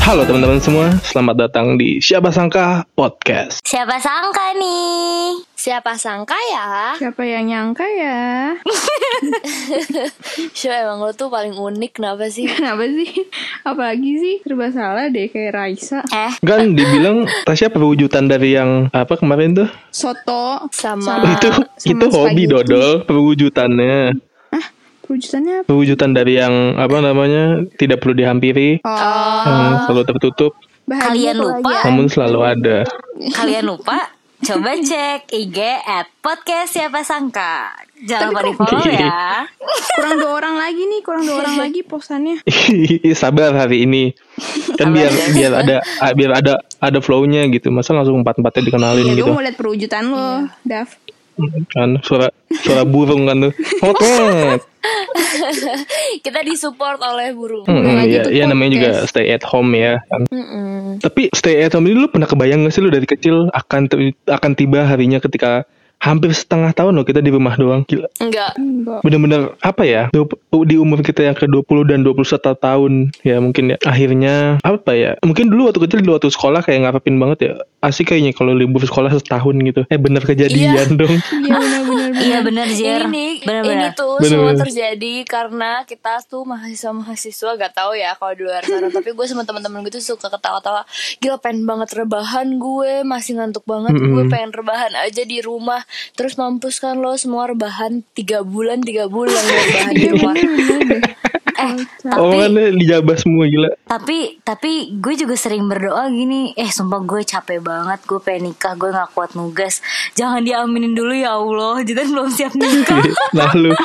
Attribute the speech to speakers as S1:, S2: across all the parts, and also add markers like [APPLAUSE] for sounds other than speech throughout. S1: Halo teman-teman semua, selamat datang di Siapa Sangka Podcast.
S2: Siapa sangka nih?
S3: Siapa sangka ya?
S4: Siapa yang nyangka ya? [LAUGHS]
S3: Show emang lo tuh paling unik kenapa sih?
S4: Kenapa sih? Apalagi sih? Serba salah deh kayak Raisa.
S2: Eh,
S4: [LAUGHS]
S1: Kan dibilang Tasya perwujudan dari yang apa kemarin tuh?
S4: Soto.
S3: Sama
S1: itu
S4: Eh, sama
S1: itu hobi
S4: spaghetti.
S1: dodol perwujudannya.
S4: Wujudnya apa?
S1: Perwujudan dari yang apa namanya tidak perlu dihampiri,
S4: Oh,
S1: yang selalu tertutup,
S4: bahagia
S2: kalian lupa?
S4: kebahagiaan.
S1: namun selalu ada. [LAUGHS]
S2: Kalian lupa? Coba cek IG at podcast siapa sangka. Jangan lupa di follow
S3: iya.
S1: kok-
S2: ya.
S4: Kurang dua orang lagi nih, kurang dua orang lagi posannya.
S1: Sabar hari
S4: [LAUGHS]
S1: ini. Kan biar
S4: ya.
S1: biar ada ah, biar ada ada flow-nya gitu. Masa langsung empat-empatnya dikenalin
S4: Ya,
S1: gitu.
S4: gue mau lihat perwujudan
S2: Iya.
S4: lo, Daf.
S1: Kan suara suara burung kan tuh. Hotet.
S3: kita disupport oleh burung.
S1: Hmm, iya,
S4: Apalagi Nah, gitu tuh
S1: iya namanya juga
S4: podcast.
S1: stay at home ya. kan. Tapi stay at home ini lu pernah kebayang gak sih lu dari kecil akan ti- akan tiba harinya ketika hampir setengah tahun loh kita di rumah doang. Gila.
S3: Enggak.
S4: Enggak.
S1: Bener-bener apa ya? du- Di umur kita yang ke-20 dan 21 tahun ya mungkin ya akhirnya apa ya? Mungkin dulu waktu kecil dulu waktu sekolah kayak ngarepin banget ya. Asik kayaknya kalau libur sekolah setahun gitu. Eh bener kejadian
S4: [LAUGHS]
S1: dong.
S4: Iya benar-benar.
S2: Iya bener Zir.
S3: Ini ini
S2: Bener-bener.
S3: tuh
S1: Bener,
S3: semua
S1: bener.
S3: terjadi karena kita tuh mahasiswa-mahasiswa gak tahu ya kalau di luar sana, tapi gue sama teman-teman gue tuh suka ketawa-tawa. Gila pengen banget rebahan gue, masih ngantuk banget. Gue pengen rebahan aja di rumah. Terus mampus kan lo semua rebahan tiga bulan, tiga bulan lo
S2: Iya,
S3: rebahan di rumah.
S2: Eh, tapi
S1: Omongannya Oh, dijabah semua gila.
S2: tapi tapi gue juga sering berdoa gini eh sumpah gue capek banget gue pengen nikah gue nggak kuat nugas jangan diaminin dulu ya allah jadi belum siap nikah
S1: [LAUGHS] Nah lu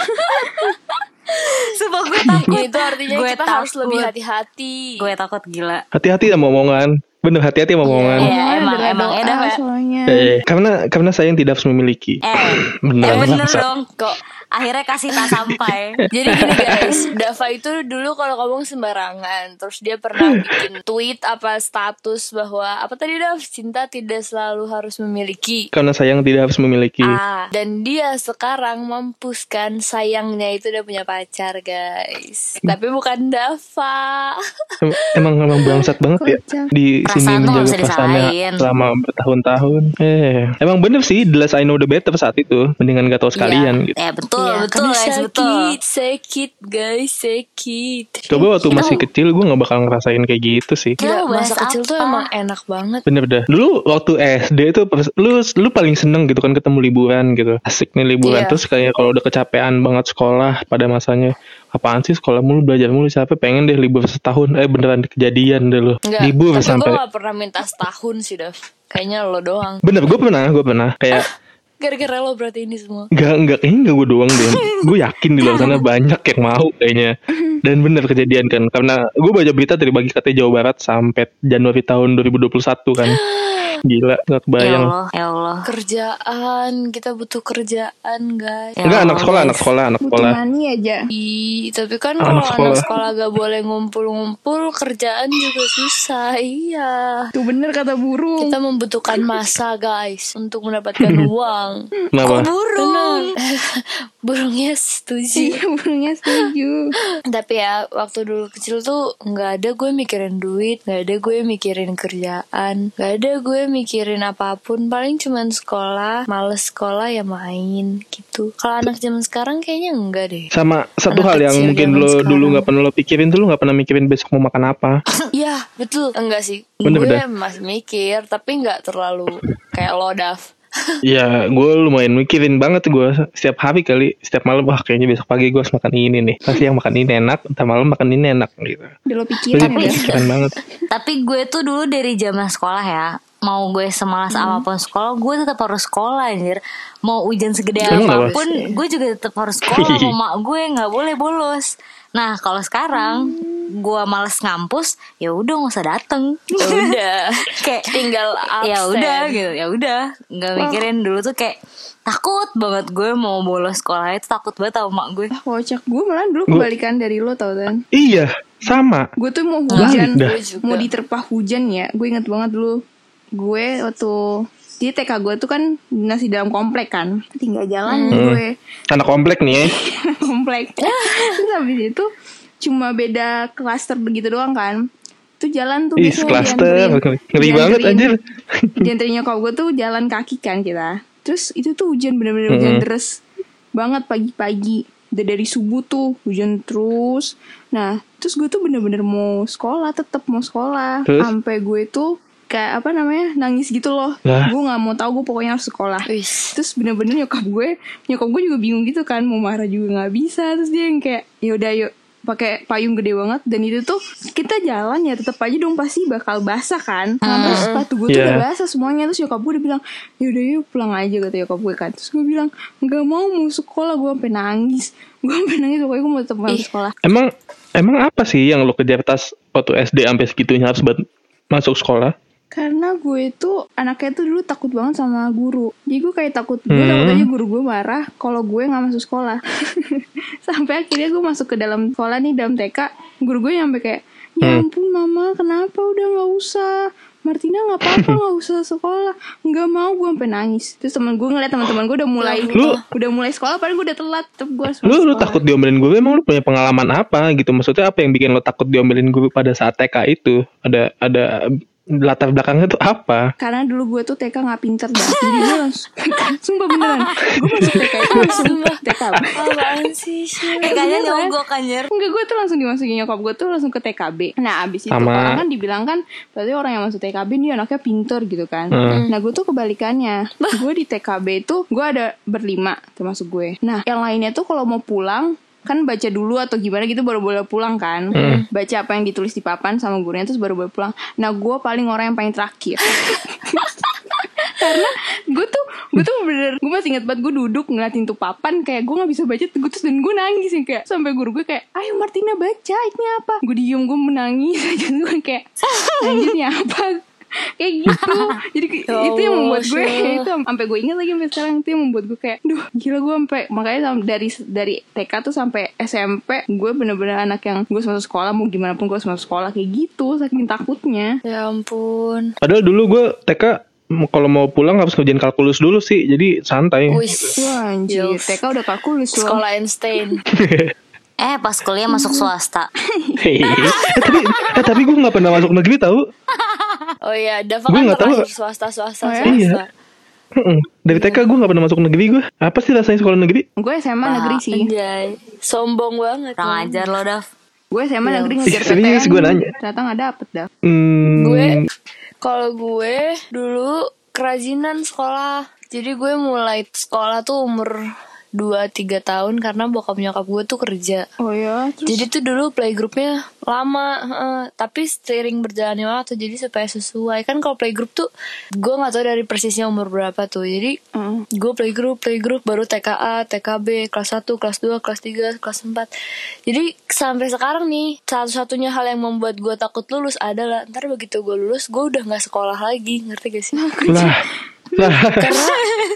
S2: sumpah gue takut
S3: Itu artinya
S2: Gue
S3: kita harus
S2: takut.
S3: lebih hati-hati.
S2: gue takut gila
S1: hati-hati sama omongan. Bener hati-hati sama omongan.
S2: Iya, emang
S4: ada
S2: emang
S4: doa
S2: edah ya.
S4: Ah, soalnya.
S1: Eh, karena karena saya yang tidak harus memiliki.
S2: eh
S1: Bener,
S2: eh, bener
S1: bangsat.
S2: dong kok akhirnya kasih tak
S1: [LAUGHS]
S2: sampai
S3: Jadi gini guys, [LAUGHS] Dava itu dulu kalau ngomong sembarangan, terus dia [LAUGHS] pernah bikin tweet apa status bahwa apa tadi Dav cinta tidak selalu harus memiliki.
S1: Karena sayang tidak harus memiliki.
S3: Ah, dan dia sekarang mampuskan sayangnya itu udah punya pacar guys. Tapi bukan [LAUGHS] Dava.
S1: Em- Emang emang bangsat banget ya
S4: Kocak.
S1: di sini
S2: Perasaan tuh
S1: menjaga
S2: nggak bisa
S1: perasaannya
S2: disalahin.
S1: selama bertahun-tahun. Eh, emang bener sih, the less I know the better saat itu. Mendingan gak tahu sekalian gitu.
S2: ya betul
S3: Ya,
S2: betul
S3: karena
S2: guys betul
S3: sakit, sakit guys, sakit.
S1: Coba waktu masih kecil gue nggak bakal ngerasain kayak gitu sih.
S2: Kita
S3: Gila,
S2: mau bahas
S3: masa kecil tuh
S2: apa?
S3: emang enak banget.
S1: Bener dah. Dulu waktu SD itu pers- lu lu paling seneng gitu kan ketemu liburan gitu. Asik nih liburan
S3: Iya.
S1: terus kayak kalau udah kecapean banget sekolah pada masanya. Apaan sih sekolah mulu belajar mulu capek pengen deh libur setahun. Eh beneran kejadian deh lu.
S3: Enggak,
S1: Libur
S3: tapi
S1: sampai.
S3: gue gak pernah minta setahun sih Dav. Kayaknya lo doang.
S1: Bener gue pernah gue pernah kayak
S2: [LAUGHS]
S3: Gara-gara lo berarti ini semua.
S1: Gak, enggak, kayaknya enggak gue doang
S2: [LAUGHS]
S1: deh. gue yakin di luar sana banyak yang mau kayaknya. Dan bener kejadian kan. Karena gue baca berita dari bagi katanya Jawa Barat sampai Januari tahun 2021
S2: [GASPS]
S1: kan. Gila, gak
S2: ya
S1: kebayang.
S2: allah ya allah
S3: kerjaan kita butuh kerjaan guys
S2: Ya
S1: enggak, anak
S2: Allah,
S1: sekolah,
S2: guys.
S1: anak sekolah, anak
S4: Butuh
S1: sekolah.
S4: mani aja.
S3: Ih, tapi kan kalau
S1: Anak
S3: anak
S1: sekolah.
S3: sekolah gak boleh ngumpul-ngumpul kerjaan juga susah iya
S4: Tuh bener kata burung.
S3: kita membutuhkan masa guys untuk mendapatkan
S1: [LAUGHS]
S3: uang
S1: Kenapa?
S3: burung [LAUGHS] burungnya setuju
S4: Iya burungnya setuju.
S3: tapi ya waktu dulu kecil tuh nggak ada gue mikirin duit nggak ada gue mikirin kerjaan nggak ada gue mikirin apapun paling cuman sekolah males sekolah ya main gitu kalau anak zaman sekarang kayaknya enggak
S1: [COUGHS]
S3: deh
S1: Sama satu
S3: Anak
S1: hal yang
S3: kecil
S1: mungkin
S3: zaman
S1: lo
S3: sekarang.
S1: dulu nggak pernah lo pikirin tuh lo nggak pernah mikirin besok mau makan
S3: [LAUGHS]
S1: apa.
S3: Iya betul Enggak sih
S1: Bener,
S3: Gue
S1: bener.
S3: masih mikir Tapi nggak terlalu Kayak lo Dav [LAUGHS]
S1: Iya, gue lumayan mikirin banget gue setiap hari kali, setiap malam wah kayaknya besok pagi gue harus makan ini nih. Pas yang makan ini enak, ntar malam makan ini enak gitu.
S3: Iya,
S4: Udah lo
S1: Gue
S4: pikirin ya.
S1: pikiran banget.
S2: Tapi gue tuh dulu dari zaman sekolah ya Mau gue semalas
S3: Hmm.
S2: apapun sekolah Gue tetap harus sekolah anjir Mau hujan segede
S1: Emang nggak
S2: apapun Gue juga tetap harus sekolah
S1: [LAUGHS]
S2: Mau mak gue nggak boleh bolos Nah kalau sekarang Gue males ngampus ya udah nggak usah dateng
S3: Hmm. Ya Udah
S2: [LAUGHS] Kayak
S3: Tinggal absen
S2: ya udah gitu ya udah nggak mikirin dulu tuh kayak takut banget gue mau bolos sekolah itu takut banget sama mak gue
S4: Ah, Kocak gue malah dulu kebalikan dari lo tau kan.
S1: Iya, sama.
S4: Gue tuh mau hujan,
S1: Dah.
S3: Gue juga.
S4: mau diterpa hujan ya. Gue inget banget dulu. Gue waktu jadi TK gue tuh kan dinas di dalam komplek kan. Tinggal jalan gue
S1: Anak komplek nih ya.
S4: [LAUGHS]
S1: [LAUGHS]
S4: komplek. Terus habis itu cuma beda klaster begitu doang kan. Itu jalan tuh
S1: Ih,
S4: biasanya
S1: cluster.
S4: dianterin-
S1: Ngeri banget
S4: dianterin-
S1: anjir.
S4: Dianterin nyokap gue tuh jalan kaki kan kita. Terus itu tuh hujan bener-bener hujan
S1: Mm-mm.
S4: deres banget pagi-pagi. Udah dari subuh tuh hujan terus. Nah, terus gue tuh bener-bener mau sekolah, tetap mau sekolah.
S1: Terus?
S4: Sampai gue tuh kayak apa namanya nangis gitu loh.
S1: Lah.
S4: Gue nggak mau tahu gue pokoknya harus sekolah [COUGHS]
S3: Wis.
S4: terus bener-bener nyokap gue nyokap gue juga bingung gitu kan mau marah juga nggak bisa terus dia yang kayak ya udah yuk pakai payung gede banget dan itu tuh kita jalan ya tetap aja dong pasti bakal basah kan sampai sepatu gue tuh
S1: Iya.
S4: udah basah semuanya terus nyokap gue udah bilang ya udah yuk pulang aja kata nyokap gue kan terus gue bilang nggak mau mau sekolah gue sampai nangis gue sampai nangis pokoknya gue mau tetap mau sekolah
S1: Emang emang apa sih yang lo kejar tas waktu SD sampai segitunya harus buat masuk sekolah?
S4: Karena gue itu anaknya tuh dulu takut banget sama guru. Jadi gue kayak takut, gue
S1: Hmm.
S4: takut aja guru gue marah kalau gue nggak masuk sekolah. [LAUGHS] sampai akhirnya gue masuk ke dalam sekolah nih dalam TK, guru gue nyampe kayak, ya
S1: Hmm.
S4: ampun mama kenapa udah nggak usah. Martina nggak
S1: [LAUGHS]
S4: apa-apa nggak usah sekolah, nggak mau gue sampai nangis. Terus teman gue ngeliat teman-teman gue udah mulai,
S1: Ya Lu-
S4: udah mulai sekolah, padahal gue udah telat. Tetep gue harus
S1: Lu,
S4: masuk
S1: lu
S4: sekolah.
S1: takut diomelin gue, emang lu punya pengalaman apa gitu? Maksudnya apa yang bikin lo takut diomelin gue pada saat TK itu? Ada ada latar belakangnya tuh apa?
S4: Karena dulu gue tuh TK nggak pinter dah. Jadi gue langsung, sumpah beneran, gue masuk TK itu langsung TK.
S3: Apaan sih? Shay?
S2: Eh kalian nyogok anjir
S4: Enggak, gue tuh langsung dimasukin nyokap gue tuh langsung ke TKB. Nah, abis itu
S1: Sama-
S4: orang kan dibilang kan, berarti orang yang masuk TKB ini anaknya pinter gitu kan.
S1: Hmm.
S4: Nah, gue tuh kebalikannya. Gue di TKB itu, gue ada berlima termasuk gue. Nah, yang lainnya tuh kalau mau pulang, kan baca dulu atau gimana gitu baru boleh pulang kan
S1: Hmm.
S4: baca apa yang ditulis di papan sama gurunya terus baru boleh pulang nah gue paling orang yang paling
S1: [LAUGHS]
S4: terakhir karena gue tuh gue tuh bener gue masih ingat banget gue duduk ngeliatin tuh papan kayak gue nggak bisa baca gue terus dan gue nangis yang kayak sampai guru gue kayak ayo Martina baca ini apa gue diem gue menangis [LAUGHS] aja gue kayak "Anjir, ini apa kayak gitu jadi ke-
S3: Ya
S4: itu yang
S3: Allah,
S4: membuat gue
S3: Syah.
S4: itu sampai gue ingat lagi sampai sekarang itu yang membuat gue kayak duh gila gue sampai makanya sam- dari dari TK tuh sampai SMP gue bener-bener anak yang gue harus masuk sekolah mau gimana pun gue harus masuk sekolah kayak gitu saking takutnya
S3: Ya ampun.
S1: Padahal dulu gue TK m- kalau mau pulang harus ngerjain kalkulus dulu sih, jadi santai.
S3: Wis.
S4: Wah anjir,
S3: Yo.
S4: TK Iya, udah kalkulus loh.
S3: Sekolah Einstein.
S2: Eh pas kuliah masuk swasta
S1: Hei. [LAUGHS] eh, tapi eh, tapi gue nggak pernah masuk negeri tahu.
S3: Oh iya, Dava
S1: Gua
S3: kan
S1: nggak tahu.
S3: terakhir swasta swasta
S4: Oh, iya?
S3: swasta.
S1: Mm-mm. Dari TK gue nggak pernah masuk negeri gue. Apa sih rasanya sekolah negeri?
S4: Gue SMA negeri sih.
S3: Anjay, sombong banget.
S2: Kurang
S3: Bang.
S2: ajar lo Dav
S4: Gue SMA negeri ngejar
S1: Ih, Iya, serius
S4: PTN.
S1: gua nanya.
S4: Ternyata gak dapet dah.
S1: Hmm,
S3: Gue kalau gue dulu kerajinan sekolah. Jadi gue mulai sekolah tuh umur 2-3 tahun karena bokap nyokap gue tuh kerja.
S4: Oh ya, terus
S3: Jadi tuh dulu playgroupnya lama, heeh. tapi steering berjalannya waktu jadi supaya sesuai kan kalau playgroup tuh gue nggak tahu dari persisnya umur berapa tuh jadi
S4: Heeh.
S3: gue playgroup playgroup baru TKA, TKB kelas 1, kelas 2, kelas 3, kelas 4 jadi sampai sekarang nih satu-satunya hal yang membuat gue takut lulus adalah ntar begitu gue lulus gue udah nggak sekolah lagi ngerti gak sih?
S1: lah lah.
S3: [LAUGHS] karena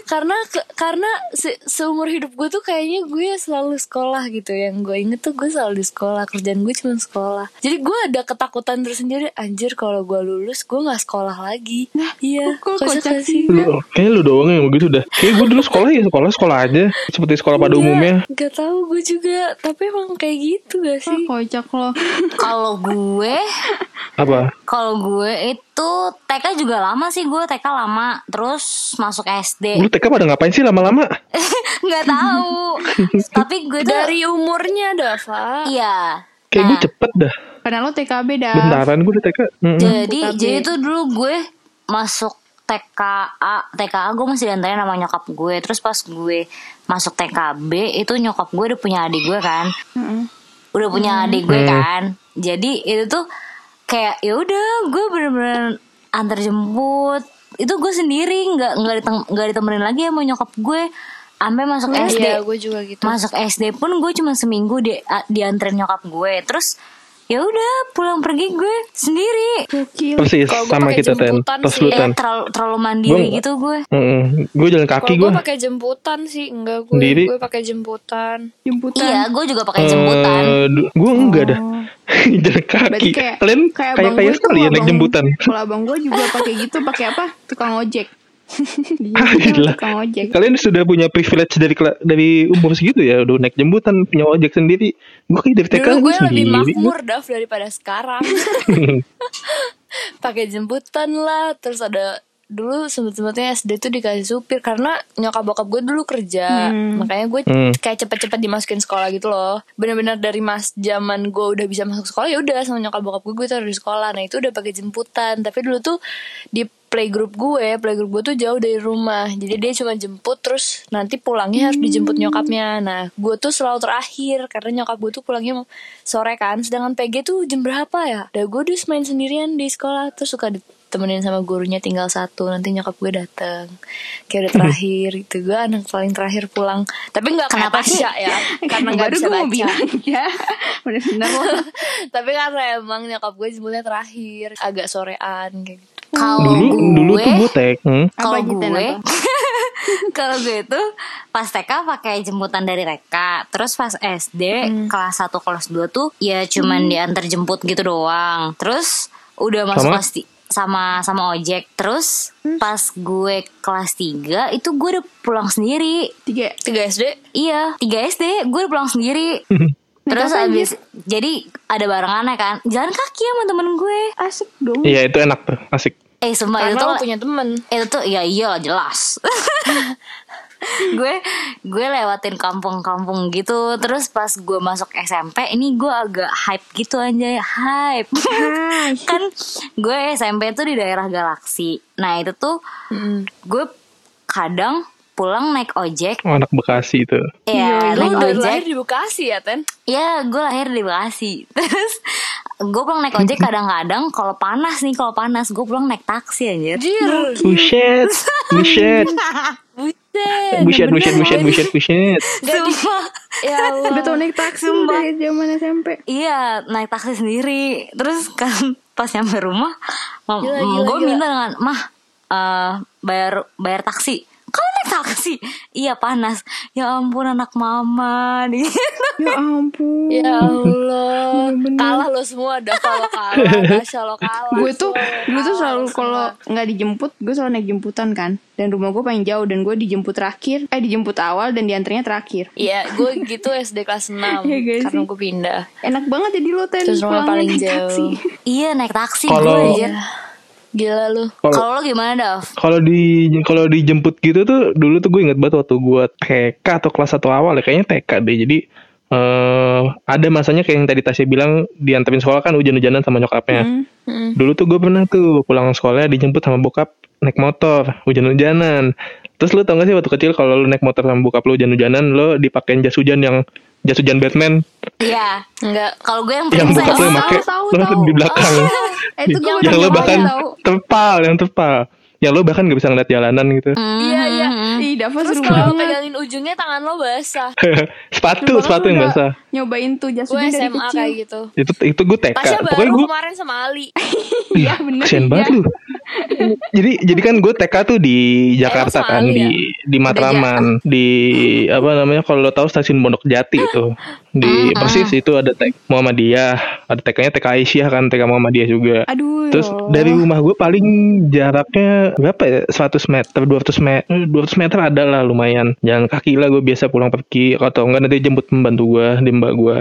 S3: karena ke- karena se- seumur hidup gue tuh kayaknya gue selalu sekolah gitu yang gue inget tuh gue selalu di sekolah kerjaan gue cuma sekolah jadi gue ada ketakutan tersendiri anjir kalau gue lulus gue nggak sekolah lagi iya
S4: kok
S3: kocak
S4: kocak
S3: gak sih
S1: Lu, kayaknya lu doang yang begitu dah. Kayak gue dulu sekolah ya sekolah sekolah aja, seperti sekolah pada
S3: Iya,
S1: umumnya.
S3: Gak tau gue juga Tapi emang kayak gitu gak
S4: ah,
S3: sih
S4: kocak loh.
S2: Kalau gue
S1: Apa?
S2: Kalau gue itu TK juga lama sih gue TK lama terus masuk
S1: Lu
S2: SD
S1: TK pada ngapain sih lama-lama?
S2: [LAUGHS] nggak tahu [LAUGHS] tapi gue tuh
S3: Dari umurnya Dava
S2: iya
S1: Kayak gitu gue
S2: Nah,
S1: cepet dah.
S4: [LAUGHS] Karena lo TKB dah.
S1: Bentaran gue di TK. Mm-mm.
S2: jadi
S4: TKB.
S2: jadi tuh dulu gue masuk TKA TKA gue masih diantarin sama nyokap gue terus pas gue masuk TKB itu nyokap gue udah punya adik gue kan
S4: Heeh.
S2: udah punya adik gue kan jadi itu tuh kayak ya udah gue bener-bener antar jemput itu gue sendiri nggak nggak ditem- nggak ditemenin lagi sama nyokap gue sampai masuk SD
S3: Iya gue juga gitu
S2: masuk SD pun gue cuma seminggu di a- dianterin nyokap gue terus ya udah pulang pergi gue sendiri
S4: Gokil.
S1: Persis
S3: Kalau gue
S1: sama
S3: pakai
S1: kita ten.
S3: jemputan
S1: Terus
S3: sih.
S1: lu
S2: eh
S1: ten.
S2: terlalu terlalu mandiri
S1: Gua-
S2: gitu gue
S1: Mm-mm. Gue jalan
S3: Kalau
S1: kaki
S3: gue
S1: gue.
S3: pakai jemputan sih Enggak gue
S1: Sendiri?
S3: Gue pakai jemputan
S4: Jemputan.
S2: iya gue juga pakai jemputan
S1: Eh, gue enggak dah. [LAUGHS] jalan
S4: Berarti
S1: kaki.
S4: kayak
S1: Kalian
S4: kayak
S1: kayak kaya
S4: abang gue tuh
S1: [LAUGHS] sekali ya naik
S4: abang-
S1: jemputan. [LAUGHS]
S4: Kalau abang gue juga pakai gitu, pakai apa? Tukang ojek. Dia
S1: Ah,
S4: kan
S1: gila.
S4: tukang ojek.
S1: Kalian sudah punya privilege dari kela- dari umur segitu ya, udah naik jemputan, punya ojek sendiri. Gue kayak dari TK
S3: Dulu
S1: gue
S3: gue
S1: sendiri.
S3: lebih makmur Daf daripada
S1: [LAUGHS]
S3: sekarang. Pakai jemputan lah, terus ada dulu sempet-sempetnya SD tuh dikasih supir karena nyokap bokap gue dulu kerja. Makanya gue
S1: Hmm.
S3: kayak cepet-cepet dimasukin sekolah gitu loh. Bener-bener dari mas zaman gue udah bisa masuk sekolah ya udah sama nyokap bokap gue gue taruh di sekolah. Nah, itu udah pakai jemputan. Tapi dulu tuh di playgroup gue, playgroup gue tuh jauh dari rumah. Jadi dia cuma jemput terus nanti pulangnya harus dijemput nyokapnya. Nah, gue tuh selalu terakhir karena nyokap gue tuh pulangnya sore kan. Sedangkan PG tuh jam berapa ya? Dan gue dus main sendirian di sekolah terus suka ditemenin sama gurunya tinggal satu nanti nyokap gue dateng kayak udah terakhir gitu gue anak paling terakhir pulang tapi nggak kayak
S2: Kenapa sih?
S3: Tasya ya karena
S4: [LAUGHS]
S3: nggak
S4: Baru
S3: bisa
S4: gue mau
S3: baca
S4: bilang ya. Bener-bener lo.
S3: [LAUGHS] tapi karena emang nyokap gue jemputnya terakhir agak sorean kayak gitu
S2: Kalau
S1: dulu
S2: gue,
S1: dulu tuh gue tek. Hmm.
S2: kalau
S4: Apa, Jitan,
S2: gue,
S4: apa?
S2: [LAUGHS] kalau gue itu pas TK pakai jemputan dari Reka, terus pas SD kelas 1 kelas 2 tuh ya cuman diantar jemput gitu doang. Terus udah masuk
S1: Sama?
S2: kelas ti- sama sama ojek. Terus pas gue kelas 3 itu gue udah pulang sendiri.
S4: Tiga.
S3: tiga SD
S2: Iya, 3 SD gue udah pulang
S3: [LAUGHS]
S2: sendiri. Terus
S4: apa
S2: abis jadi ada barengannya kan jalan kaki sama temen gue.
S4: Asik dong.
S1: Iya itu enak tuh, asik.
S2: Eh sumpah itu
S3: karena
S2: tuh
S3: lo punya temen
S2: itu tuh ya iya
S3: [LAUGHS]
S2: jelas gue gue lewatin kampung-kampung gitu terus pas gue masuk SMP ini gue agak hype gitu anjay hype [LAUGHS] kan gue SMP tuh di daerah galaksi nah itu tuh gue kadang pulang naik ojek
S1: Oh, anak Bekasi itu.
S2: ya
S4: Iya,
S2: naik
S3: lo Iya, udah
S2: ojek
S3: lahir di Bekasi ya Ten
S2: Ya gue lahir di Bekasi [LAUGHS] Terus gue pulang naik ojek kadang-kadang Kalau panas nih kalau panas Gue pulang naik taksi anjir
S4: Iya.
S3: Jir
S1: Nah. Buset, buset,
S3: Buset
S1: buset, buset, buset, buset, buset.
S2: Sumpah
S4: [LAUGHS]
S3: Ya Allah
S4: Udah tau naik taksi lu dari zaman SMP.
S2: [LAUGHS] Iya naik taksi sendiri Terus kan [LAUGHS] pas nyampe rumah
S3: Gila, gila,
S2: Gue
S3: gila.
S2: minta dengan Mah eh, bayar bayar taksi Kamu naik taksi? [LAUGHS] Iya panas Ya ampun anak mama [LAUGHS] nih
S4: Ya ampun.
S3: Ya Allah
S4: Bener-bener.
S3: Kalah lo semua Ada kalau
S4: [LAUGHS]
S3: kalah Dasya lo kalah
S4: gue tuh
S3: Semua.
S4: dulu tuh
S3: Kalah
S4: selalu
S3: lo
S4: kalau
S3: semua.
S4: nggak dijemput gue selalu naik jemputan kan dan rumah gue paling jauh dan gue dijemput terakhir eh dijemput awal dan diantarnya terakhir
S3: Iya gue gitu SD kelas 6
S4: Iya gak
S3: Karena
S4: sih?
S3: gue pindah
S4: enak banget jadi lo ten
S3: Terus rumah
S4: pulangnya
S3: paling
S4: naik
S3: jauh.
S4: taksi.
S2: Iya naik taksi gue
S1: Kalau-
S2: anjir
S3: Gila lu
S1: Kalau
S2: Kalau lo gimana Dav?
S1: kalau di kalau dijemput gitu tuh dulu tuh gue inget banget waktu gue TK atau kelas 1 awal ya kayaknya TK deh jadi eh ada masanya kayak yang tadi Tasya bilang dianterin sekolah kan hujan-hujanan sama nyokapnya dulu tuh gue pernah tuh pulang sekolah dijemput sama bokap naik motor hujan-hujanan terus lu tau gak sih waktu kecil kalau lu naik motor sama bokap lu hujan-hujanan lo dipakein jas hujan yang jas hujan Batman
S2: Iya
S3: Enggak
S2: Kalau gue yang
S1: yang bokap lu
S2: princess
S1: yang
S4: tahu,
S1: make
S4: tahu,
S1: lu kan [LAUGHS]
S4: tahu.
S1: di belakang
S4: eh itu gue
S1: Iya. yang
S4: udah
S1: lo
S4: tahu,
S1: bahkan
S4: tahu
S1: terpal yang terpal yang lo bahkan gak bisa ngeliat jalanan gitu [LAUGHS]
S2: Hmm.
S3: Iya iya
S4: ih dapat
S3: Terus
S4: seru
S3: kalau lo
S4: banget
S3: pegangin ujungnya tangan lo basah
S1: sepatu
S4: Seru banget
S1: sepatu
S4: lu
S1: yang
S4: udah
S1: basah
S4: nyobain tuh jas
S3: Gue
S4: hujan dari
S3: SMA kayak
S4: kecil
S3: gitu
S1: itu itu gue TK
S3: Tasya
S1: Ya, pokoknya
S3: baru
S1: gue
S3: kemarin sama Ali
S4: iya bener
S1: kesian banget
S4: iya.
S1: lu jadi jadi kan gue TK tuh di Jakarta
S3: Emang
S1: kan
S3: Somali
S1: di
S3: ya?
S1: di Matraman di apa namanya kalau lo tahu stasiun Pondok Jati itu di
S4: Ah,
S1: persis itu ada TK Muhammadiyah ada TK-nya TK Aisyah kan TK Muhammadiyah juga
S4: aduh
S1: Terus
S4: ya Allah.
S1: dari rumah gue paling jaraknya berapa ya? 100 meter, 200 meter, 200 eh, meter ada lah lumayan. Jalan kaki lah gue biasa pulang pergi atau enggak nanti jemput pembantu gue, di mbak gue.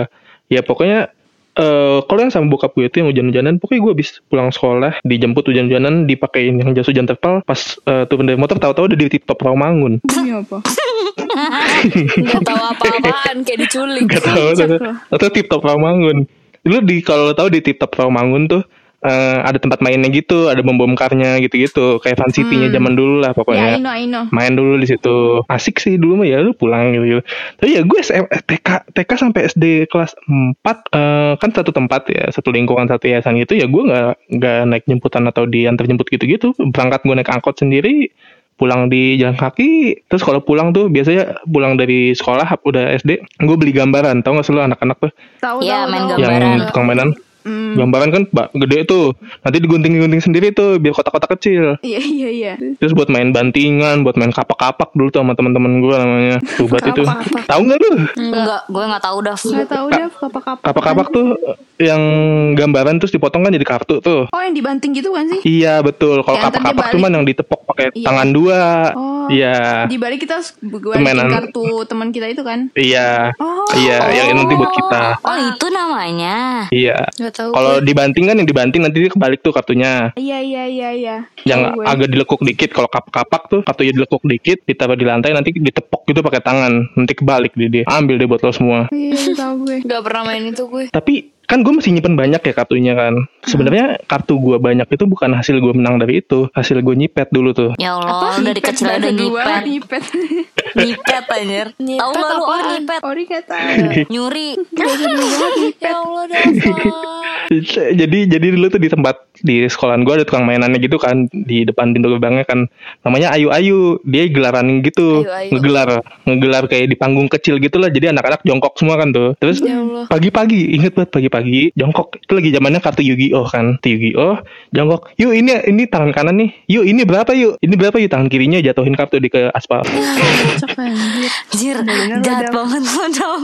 S1: Ya pokoknya eh kalau yang sama bokap gue itu yang hujan-hujanan pokoknya gue habis pulang sekolah dijemput hujan-hujanan dipakein yang jas hujan terpal pas eh, turun dari motor tahu-tahu udah di tip top Rawamangun
S4: Demi apa
S3: Gak tahu apa-apaan Kayak
S1: [LAUGHS]
S3: diculik
S1: Gak tau
S4: Kocak
S1: tuh.
S4: loh.
S1: Atau tip top Rawamangun. Dulu di kalau lo tahu di tip top Rawamangun tuh eh, ada tempat mainnya gitu, ada bom bom karnya gitu-gitu, kayak fan city-nya zaman dulu lah
S4: Hmm. ya
S1: pokoknya.
S4: I know I know
S1: main dulu di situ asik sih dulu mah ya lu pulang gitu, -gitu. tapi ya gue SM, eh, TK TK sampai SD kelas 4 eh, kan satu tempat ya satu lingkungan satu yayasan gitu ya gue nggak nggak naik jemputan atau diantar jemput gitu gitu berangkat gue naik angkot sendiri pulang di jalan kaki terus kalau pulang tuh biasanya pulang dari sekolah udah SD gue beli gambaran tau gak sih lu anak-anak tuh
S4: tahu
S2: Iya,
S4: tahu
S2: main
S4: tahu.
S2: gambar. Gambaran.
S1: yang tukang mainan Gambaran kan ba- gede tuh. Nanti digunting-gunting sendiri tuh biar kotak-kotak kecil.
S4: Iya iya iya.
S1: Terus buat main bantingan, buat main kapak-kapak dulu tuh sama teman-teman gue namanya. Tubat itu.
S4: Kapak-kapak.
S1: Tahu nggak lu?
S2: Enggak, gue nggak tahu dah.
S4: Gak tahu deh kapak-kapak.
S1: Kapak-kapak tuh yang gambaran terus dipotong kan jadi kartu tuh.
S4: Oh yang dibanting gitu kan sih?
S1: Iya betul. Kalau
S4: Yang ntar
S1: kapak-kapak
S4: dibalik.
S1: cuman yang ditepok pakai
S4: Iya.
S1: tangan dua.
S4: Oh.
S1: Iya.
S4: Di balik kita harus gue
S1: Permainan.
S4: kartu teman kita itu kan?
S1: Iya.
S4: Oh.
S1: Iya, yang nanti buat kita.
S2: Oh itu namanya.
S1: Iya.
S3: Gak tahu.
S1: Kalau dibanting kan yang dibanting nanti dia kebalik tuh kartunya.
S4: Iya iya iya iya.
S1: Yang
S4: Tahu gue.
S1: agak dilekuk dikit kalau kapak-kapak tuh kartunya dilekuk dikit ditaruh di lantai nanti ditepok gitu pakai tangan. Nanti kebalik dia, dia. Ambil deh buat lo semua.
S4: Iya itu tahu gue. [LAUGHS]
S3: Gak pernah main itu gue.
S1: Tapi kan gue masih nyimpen banyak ya kartunya kan. Sebenarnya kartu gue banyak itu bukan hasil gue menang dari itu, hasil gue nyipet dulu tuh. [LAUGHS]
S2: Ya Allah, lu dari
S4: Nyipet,
S2: kecil udah
S4: bahasa dua, [LAUGHS]
S2: nyipet.
S4: Nyipet.
S2: Nyipet anjir.
S3: Nyipet
S2: Tahu nggak lu orang
S3: apaan?
S2: nyipet?
S4: Ori gak tahu.
S2: Nyuri.
S3: Ya
S4: [LAUGHS]
S3: Allah Dava.
S1: Jadi jadi dulu tuh di tempat di sekolahan gue ada tukang mainannya gitu kan di depan pintu gerbangnya kan namanya Ayu Ayu dia gelaran gitu
S3: Ayu Ayu.
S1: ngegelar ngegelar kayak di panggung kecil gitu lah jadi anak-anak jongkok semua kan tuh terus
S3: Ya Allah.
S1: pagi-pagi inget banget pagi-pagi jongkok itu lagi zamannya kartu Yu-Gi-Oh kan kartu Yu-Gi-Oh jongkok yuk ini ini tangan kanan nih yuk ini berapa yuk ini berapa yuk tangan kirinya jatuhin kartu di ke aspal
S4: Kocak banget.
S2: Anjir,
S4: Bener-bener lu,
S2: jahat
S4: Dam.
S2: banget [LAUGHS] Eh, lu dong.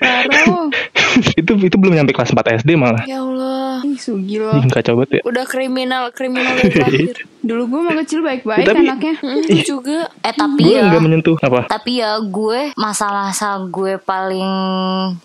S4: Parah lo. [LAUGHS]
S1: [LAUGHS] itu itu belum nyampe kelas 4 SD malah
S3: Ya Allah.
S4: Ih sugi lo.
S1: Ih, nggak coba tuh ya.
S3: Udah kriminal, kriminal yang terakhir.
S1: [LAUGHS]
S4: Dulu gue mau kecil baik-baik
S1: Tapi-
S4: anaknya.
S3: Itu juga.
S2: Eh tapi
S1: gue
S2: ya,
S1: nggak menyentuh apa
S2: tapi ya gue masa-masa gue paling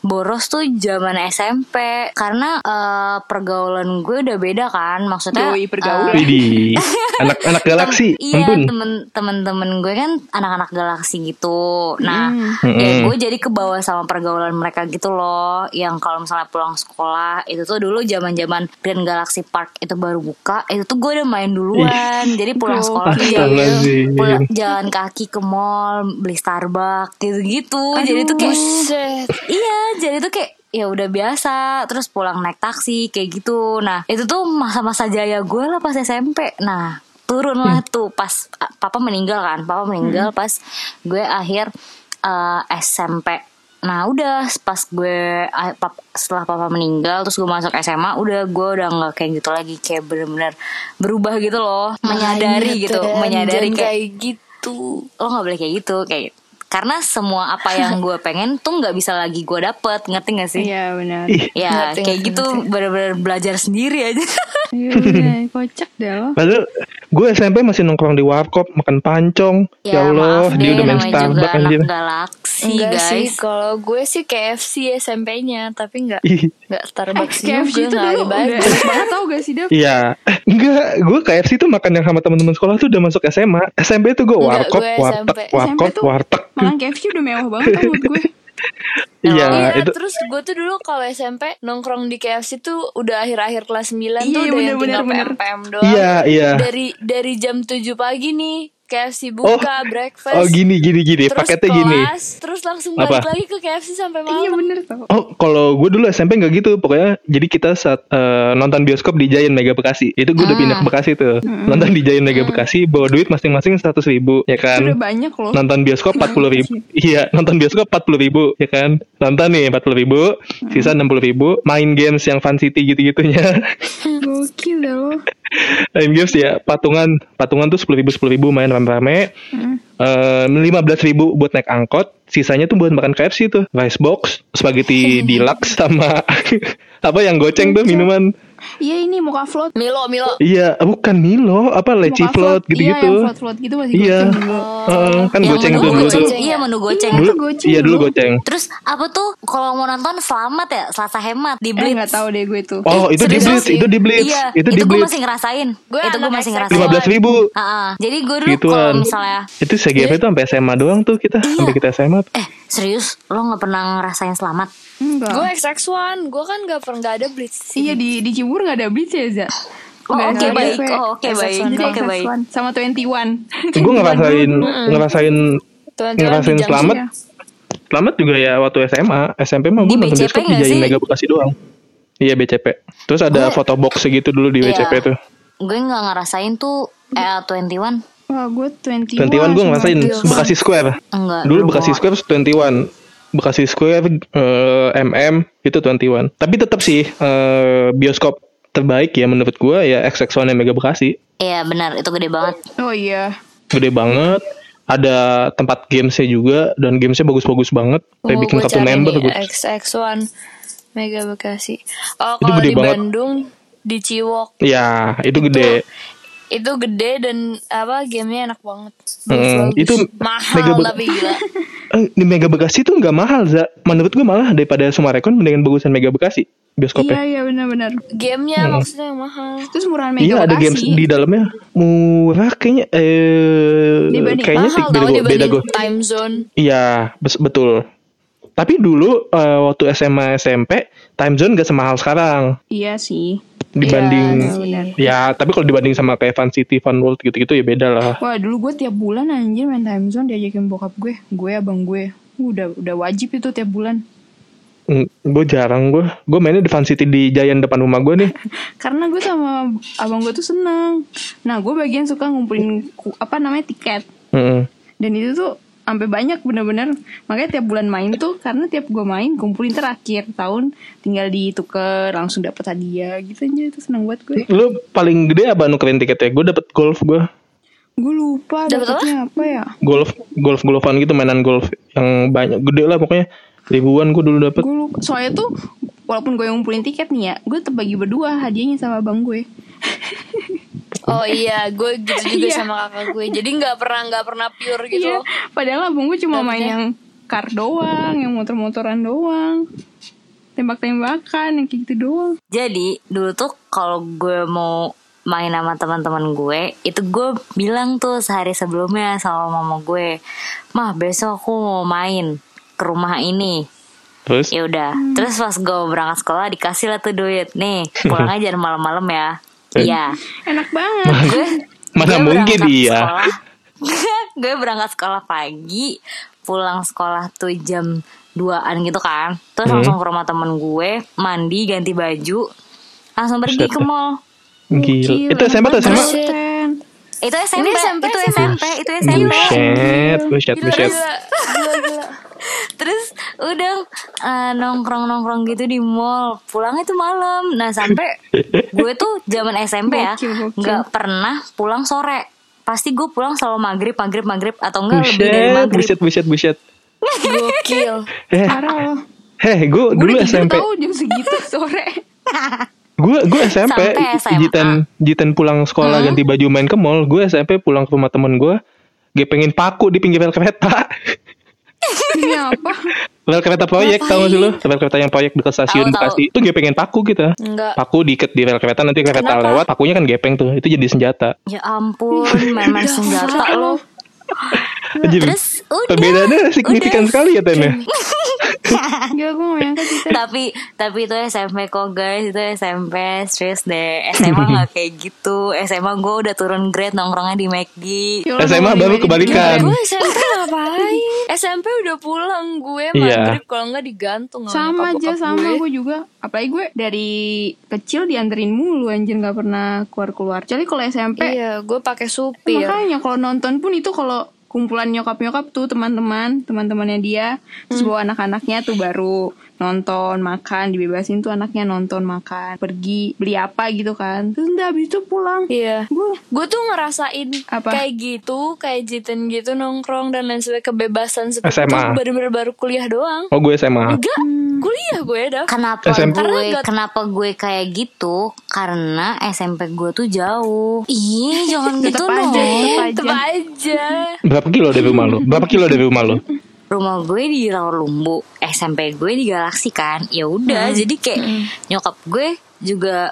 S2: boros tuh zaman SMP karena eh, pergaulan gue udah beda kan maksudnya
S4: Doi
S2: eh,
S4: pergaulan.
S1: Widih, anak-anak galaksi,
S2: Iya
S1: ampun.
S2: temen temen-temen gue kan anak-anak galaksi gitu. Nah, ya
S1: Mm-mm.
S2: gue jadi kebawa sama pergaulan mereka gitu loh. Yang kalau misalnya pulang sekolah itu tuh dulu zaman-zaman Grand Galaxy Park itu baru buka. Itu tuh gue udah main duluan. jadi pulang
S4: Go.
S2: sekolah tuh
S1: Astaga,
S2: jalan,
S1: Zin.
S2: pulang- jalan kaki ke mall, beli Starbucks gitu-gitu. Jadi tuh kayak
S3: Buset.
S2: Iya, jadi tuh kayak ya udah biasa, terus pulang naik taksi kayak gitu. Nah, itu tuh masa-masa jaya gue lah pas SMP. Nah, turun lah tuh pas ah, papa meninggal kan. Papa meninggal pas gue akhir eh, SMP. Nah, udah pas gue ah, pap- setelah papa meninggal terus gue masuk SMA, udah gue udah nggak kayak gitu lagi, kayak bener-bener berubah gitu loh, menyadari
S3: Makanya
S2: gitu,
S3: tuh, Dan,
S2: menyadari
S3: Nah, iya kan, jangan
S2: kayak
S3: kayak gitu.
S2: lo nggak boleh kayak gitu kayak karena semua apa yang gue pengen tuh nggak bisa lagi gue dapet ngerti gak sih
S4: [LAUGHS] Iya benar.
S1: Ih,
S2: ya
S3: Ngerti,
S2: kayak
S3: ngerti,
S2: gitu bener-bener belajar sendiri aja
S4: Iya benar. Kocak deh lo.
S1: Padahal gue SMP masih nongkrong di warkop, makan pancong. Ya, Allah, dia udah main
S2: Iya, namanya juga
S1: Starbucks
S2: anak
S1: anjir.
S2: galaksi
S3: Enggak sih,
S2: guys
S3: kalau gue sih KFC SMP-nya, tapi enggak
S1: [LAUGHS] Ih,
S3: enggak
S4: Eh, [LAUGHS]
S3: Starbucks juga,
S4: KFC itu
S3: enggak
S4: dulu udah
S3: Alibaba.
S4: enak banget tau gak sih Dap?
S1: Iya, Eh, enggak, gue KFC tuh makan yang sama teman-teman sekolah tuh udah masuk SMA. SMP tuh gue
S3: Enggak,
S1: warkop,
S3: gue
S1: warteg,
S3: SMP.
S4: SMP
S1: warkop,
S4: tuh
S1: warteg.
S4: makan KFC udah mewah banget tau menurut gue.
S1: Iya,
S3: Iya,
S1: itu
S3: terus gue tuh dulu kalau SMP nongkrong di KFC tuh udah akhir-akhir kelas
S4: Iya,
S3: 9 tuh
S4: iya,
S3: udah yang
S4: bener,
S3: tinggal
S4: bener, bener.
S3: PM-PM doang.
S1: Iya, iya.
S3: Dari dari jam 7 pagi nih KFC
S1: Oh,
S3: buka breakfast.
S1: oh gini gini gini,
S3: terus
S1: paketnya
S3: kelas,
S1: gini.
S3: terus langsung
S1: Apa?
S3: balik lagi ke KFC sampai malam.
S4: Iya bener tau.
S1: Oh, kalau gue dulu SMP nggak gitu, pokoknya jadi kita saat eh, nonton bioskop di Giant Mega Bekasi, itu gue udah pindah ke Bekasi tuh, nonton di Giant Mega Bekasi, bawa duit masing-masing seratus ribu, ya kan?
S4: Udah banyak loh.
S1: nonton bioskop empat puluh ribu
S4: sih.
S1: iya nonton bioskop empat puluh ribu ya kan nonton nih empat puluh ribu sisa enam puluh ribu main games yang Fun City gitu gitunya [LAUGHS]
S4: Gokil deh lo.
S1: main games ya patungan patungan tuh sepuluh ribu sepuluh ribu main rame-rame
S2: Hmm.
S1: Eh, lima belas ribu buat naik angkot sisanya tuh buat makan KFC tuh rice box
S2: [LAUGHS]
S1: spaghetti deluxe sama [LAUGHS] apa yang goceng tuh minuman
S4: Iya ini muka float.
S3: Milo, Milo.
S1: iya bukan Milo apa leci
S4: Muka
S1: float
S4: Iya yang
S1: gitu-gitu
S4: float-float gitu masih
S1: iya
S4: goceng dulu.
S1: Heeh, kan
S2: yang
S1: goceng
S2: menu
S1: tuh dulu
S2: Iya, goceng
S1: tuh
S2: iya menu goceng
S4: Iya.
S1: dulu
S4: tuh goceng
S1: iya dulu
S4: dulu.
S1: goceng
S2: terus apa tuh kalau mau nonton selamat ya selasa hemat di
S4: Eh
S2: Blitz
S4: gak tau deh gue tuh.
S1: Oh,
S2: Ih,
S1: itu di
S2: serius
S1: Blitz,
S2: sih.
S1: itu di Blitz,
S2: Iya,
S1: itu di
S2: gue
S1: Blitz.
S2: masih ngerasain.
S3: Gue
S2: itu gue
S3: anak
S2: masih
S3: XXL.
S2: ngerasain.
S1: lima belas ribu
S2: Heeh. Jadi gue dulu kalau
S1: gituan.
S2: misalnya Iya.
S1: Itu CGV tuh sampai SMA doang tuh kita, sampai kita SMA. tuh.
S2: Eh serius lo gak pernah ngerasain selamat
S1: Iya.
S4: Enggak.
S3: Gue XX1, gue kan gak pernah gak ada blitz.
S4: Iya di di Cibubur gak ada Blitz ya Za?
S2: Oh
S4: Nggak
S2: oke
S4: ada,
S2: baik
S4: gue.
S2: Oh oke
S3: SS1
S2: baik
S4: Jadi
S2: Oke baik
S4: XX1 sama 21.
S1: Gue ngerasain ngerasain
S3: Tuan-tuan
S1: ngerasain
S3: di jam
S1: selamat.
S4: iya.
S1: Selamat juga ya waktu SMA, SMP mah
S2: Di
S1: gue nonton
S2: BCP
S1: bioskop di
S2: nggak
S1: Jain
S2: sih?
S1: Mega Bekasi doang. Iya BCP. Terus ada foto box segitu dulu di
S2: Iya.
S1: BCP tuh.
S2: Gue gak ngerasain tuh eh, 21
S4: Wah gue 21.
S1: 21 gue
S4: sama
S1: ngerasain
S4: 21.
S1: Bekasi Square.
S2: Enggak
S1: Dulu
S2: gue
S1: Bekasi
S2: nggak-
S1: Square 21. Bekasi Square, eh, MM itu 21. Tapi tetap sih eh, bioskop terbaik ya menurut gua ya XX1 Mega Bekasi.
S2: Iya benar, itu gede banget.
S4: Oh iya.
S1: Gede banget. Ada tempat gamesnya juga dan gamesnya bagus-bagus banget. Kayak
S3: Tunggu,
S1: bikin
S3: Oh, gua
S1: kartu
S3: cari
S1: member
S3: nih,
S1: gua.
S3: XX1 Mega Bekasi. Oh,
S1: Itu
S3: kalau
S1: gede
S3: di
S1: banget.
S3: Bandung di Ciwok
S1: Ya, itu gede.
S3: itu gede dan apa gamenya enak banget.
S1: Hmm,
S3: Bagus-bagus.
S1: itu
S3: mahal
S1: Mega Be-
S3: tapi gila.
S1: Eh, di Mega Bekasi tuh nggak mahal, Za. Menurut gua malah daripada Sumarekon mendingan bagusan Mega Bekasi
S4: Iya
S1: bioskopnya.
S4: iya benar-benar.
S3: Gamenya
S1: Hmm.
S3: maksudnya yang mahal.
S4: Terus murahan
S1: Iya,
S4: Mega
S1: ada games
S4: Bekasi.
S1: di dalamnya murah kayaknya eh
S4: Dibanding-
S1: kayaknya sih
S3: mahal
S1: beda
S3: tau
S1: gua, beda
S3: dibanding
S1: gua.
S3: time zone.
S1: Iya, bes- betul. Tapi dulu eh, waktu SMA SMP time zone gak semahal sekarang
S4: Iya sih. Iya,
S1: dibanding
S4: benar.
S1: ya, tapi kalau dibanding sama kayak Fun City, Fun World gitu-gitu ya beda lah.
S4: Wah dulu gue tiap bulan anjir main time zone diajakin bokap gue. Gue abang gue. Udah udah wajib itu tiap bulan.
S1: Gue jarang gue, gue mainnya di Fun City di Giant depan rumah gue
S4: [LAUGHS]
S1: nih.
S4: Karena gue sama abang gue tuh seneng. Nah gue bagian suka ngumpulin ku- apa namanya tiket.
S1: Heeh.
S4: Dan itu tuh sampai banyak bener-bener makanya tiap bulan main tuh karena tiap gue main kumpulin terakhir tahun tinggal dituker langsung dapet hadiah gitu aja itu seneng banget gue
S1: Lu paling gede apa nukerin tiketnya? Gue dapet golf gue,
S4: gue lupa
S3: Dapet apa?
S4: dapetnya apa ya
S1: golf, golf golfan gitu mainan golf yang banyak gede lah pokoknya ribuan gue dulu dapet.
S4: gue lupa soalnya tuh walaupun gue yang ngumpulin tiket nih ya gue tetep bagi berdua hadiahnya sama abang gue
S3: Oh iya, gue gitu juga
S4: Iya.
S3: sama kakak gue. Jadi nggak pernah nggak pernah pure gitu.
S4: Iya,
S3: loh.
S4: padahal abang gue cuma main yang kar doang, yang motor-motoran doang, tembak-tembakan, yang kayak gitu doang.
S2: Jadi dulu tuh kalau gue mau main sama teman-teman gue, itu gue bilang tuh sehari sebelumnya sama mama gue, mah besok aku mau main ke rumah ini.
S1: Terus
S2: Ya udah. Terus pas gue berangkat sekolah dikasih lah tuh duit. Nih
S1: [LAUGHS]
S2: pulang aja malam-malam ya.
S1: Eh,
S2: Iya.
S4: Enak banget.
S2: Gue
S1: mana
S2: gue
S1: mungkin
S2: berangkat
S1: iya?
S4: [LAUGHS]
S2: sekolah- gue berangkat sekolah pagi, pulang sekolah tuh jam 2an gitu kan.
S1: Hmm.
S2: Terus langsung ke rumah temen gue, mandi, ganti baju, langsung pergi
S1: Buset
S2: ke
S1: dah.
S2: mall.
S1: Gila.
S4: Gokil,
S1: Itu
S4: enak
S1: SMA tuh SMA.
S4: banget. Keren.
S2: Itu SMP,
S3: Ini SMP,
S2: itu
S3: sih, Mas.
S2: SMP, itu SMP.
S1: Buset, buset,
S3: Gila,
S1: buset.
S3: gila, gila, gila.
S2: Terus udah eh, nongkrong-nongkrong gitu di mall. Pulangnya tuh malam. Nah,
S1: [LAUGHS]
S2: sampai gue tuh zaman SMP ya,
S4: Gokil, gokil.
S2: nggak pernah pulang sore. Pasti gue pulang selalu maghrib, maghrib, maghrib atau enggak lebih dari
S1: Buset,
S2: maghrib.
S1: buset, buset, buset.
S3: Gokil.
S1: Eh,
S4: Parah loh.
S1: heh, gue
S4: Gue
S1: dulu
S4: udah tidur
S1: SMP.
S4: tau jam segitu sore.
S1: Gue gue SMP,
S2: Sampai SMA.
S1: Jitan Jitan pulang
S2: Hmm?
S1: sekolah ganti baju main ke mall. Gue SMP pulang ke rumah temen gue, gepengin paku di pinggir rel kereta.
S4: Ini apa?
S1: Rel kereta proyek tau gak sih lo? Rel kereta yang proyek dekat stasiun
S2: Tahu, tahu.
S1: Bekasi. Itu gepengin paku kita.
S3: Enggak.
S1: Paku diikat di rel kereta nanti kereta
S3: Kenapa?
S1: lewat pakunya kan gepeng tuh. Itu jadi senjata.
S2: Ya
S4: [LAUGHS]
S2: ampun, main-main senjata lo.
S1: Jadi
S2: Nah, Terus udah.
S1: Perbedaannya signifikan
S2: udah.
S1: sekali ya Tem ya.
S4: Gila gue gak nyangka kita.
S2: tapi tapi itu SMP kok guys itu SMP serius
S4: [LAUGHS]
S2: deh SMA nggak kayak gitu SMA gue udah turun grade nongkrongnya di McD
S4: Ya Allah,
S1: SMA
S4: mau
S1: baru
S4: dimainin
S1: kebalikan.
S4: juga.
S3: Gue SMP ngapain? SMP udah pulang gue
S1: Iya.
S3: maghrib kalau enggak digantung
S4: Sama aja,
S3: bokap-bokap
S4: sama
S3: gue.
S4: gue juga. Apalagi gue dari kecil dianterin mulu anjir gak pernah keluar-keluar. Jadi kalau SMP
S3: Iya, gue pakai ya. supir.
S4: Makanya kalau nonton pun itu kalau kumpulan nyokap-nyokap tuh teman-teman, teman-temannya dia, terus
S3: Hmm.
S4: bawa anak-anaknya tuh baru nonton, makan, dibebasin tuh anaknya nonton, makan, pergi, beli apa gitu kan. Terus udah habis itu pulang.
S3: Iya.
S4: Gue
S3: Gue tuh ngerasain
S4: Apa?
S3: kayak gitu, kayak jiten gitu nongkrong dan lain sebagainya kebebasan seperti itu
S1: SMA.
S3: bener-bener baru kuliah doang.
S1: Oh gue SMA.
S3: Enggak,
S4: Hmm.
S3: kuliah ya, gue dah.
S4: Kan
S2: kenapa
S1: SMP.
S2: gue
S3: Karena gak-
S2: kenapa gue kayak gitu karena SMP gue tuh jauh iya jangan gitu
S4: tetep aja, tetep
S2: dong
S4: aja. Hmm.
S3: Tetep aja.
S1: Berapa kilo dari rumah lo? Berapa kilo dari rumah lo?
S2: rumah gue di Rawa Lumbu SMP gue di Galaksi kan ya
S3: Hmm.
S2: udah jadi kayak nyokap gue juga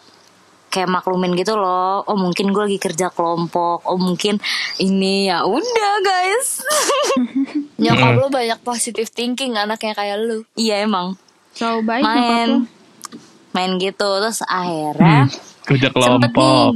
S2: kayak maklumin gitu loh oh mungkin gue lagi kerja kelompok oh mungkin ini ya udah guys [LAUGHS]
S3: Nyokap lo banyak positive thinking anaknya kayak lu.
S2: iya emang
S4: selalu baik nyokap
S2: main
S4: lu.
S2: main gitu terus akhirnya
S1: Hmm, Kerja
S2: sempet nih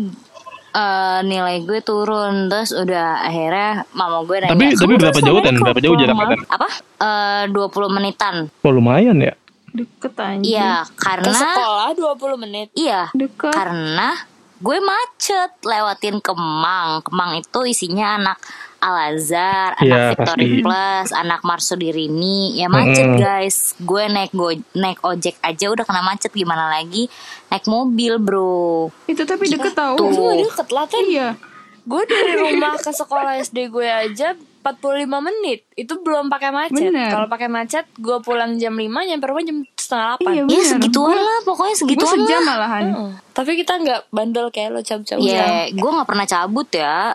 S2: eh, nilai gue turun terus udah akhirnya mama gue nanya
S1: Tapi-
S2: "Kamu
S1: tapi
S2: tuh
S1: berapa jauh,
S2: selama
S1: Tan?
S2: ini
S1: Berapa jauh
S2: kelompok
S1: jaraknya,
S2: malam?" apa Eh, 20 menitan
S1: Oh lumayan ya.
S4: Deket aja.
S2: iya
S3: Hmm. Ke
S2: karena
S3: sekolah 20 menit.
S2: iya
S4: Deket.
S2: karena gue macet lewatin Kemang Kemang itu isinya anak Al Azhar,
S1: Iya,
S2: anak
S1: pasti.
S2: Victory Plus, anak Marsudi Rini. Ya macet
S1: Mm-mm.
S2: guys. Gue naik go- naik ojek aja udah kena macet gimana lagi naik mobil, Bro.
S4: Itu tapi deket tau.
S2: Tuh.
S3: Itu gak deket lah kan
S4: Iya.
S3: Gue dari rumah ke sekolah SD gue aja 45 menit Itu belum pakai macet
S4: Bener.
S3: Kalau pakai macet gue pulang jam 5 Nyampe rumah jam setengah 8
S4: Iya,
S2: Iya
S4: bener.
S2: segituan lah pokoknya
S4: Gue
S3: Gitu
S2: segituan
S4: sejam
S2: lah.
S4: malahan.
S3: Mm. Tapi kita nggak bandel kayak lo cabut-cabut
S2: Ya,
S4: Iya,
S2: gue nggak pernah cabut ya.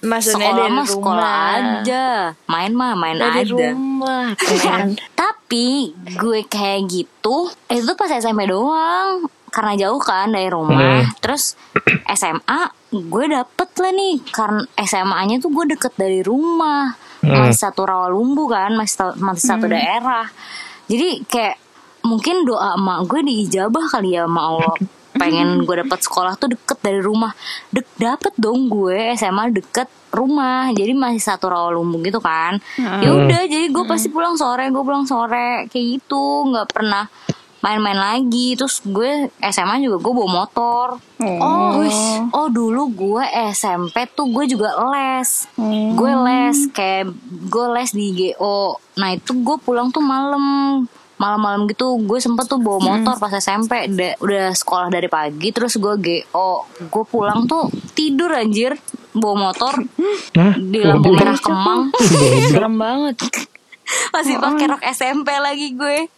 S3: Maksudnya
S2: Sekolah mah
S3: dari rumah
S2: sekolah aja, main mah main
S3: Dari
S2: aja.
S3: rumah kan
S2: [LAUGHS] Tapi gue kayak gitu itu tuh pas SMP doang karena jauh kan dari rumah. Terus [CLEARS THROAT] SMA gue dapet lah nih karena SMA-nya tuh gue deket dari rumah masih satu Rawalumbu kan masih ta- masih satu daerah. Jadi kayak mungkin doa emak gue diijabah kali ya sama Allah pengen gue dapet sekolah tuh deket dari rumah Dek, dapet dong gue SMA deket rumah jadi masih satu Rawalumbu gitu kan ya udah jadi gue pasti pulang sore gue pulang sore kayak gitu nggak pernah main-main lagi terus gue SMA juga gue bawa motor
S4: Oh.
S2: Wih, oh dulu gue SMP tuh gue juga les
S4: Hmm.
S2: gue les kayak gue les di GO nah itu gue pulang tuh malam malam-malam gitu gue sempet tuh
S4: Hmm.
S2: bawa motor pas SMP Da- udah sekolah dari pagi terus gue GO gue pulang tuh tidur anjir bawa motor
S1: Hah? Oh,
S2: di
S1: Wah,
S2: lampu
S1: gua-
S2: merah Kemang
S3: [LAUGHS]
S2: [LAUGHS]
S3: Serem banget
S2: masih pakai
S4: Hmm.
S2: rok SMP lagi gue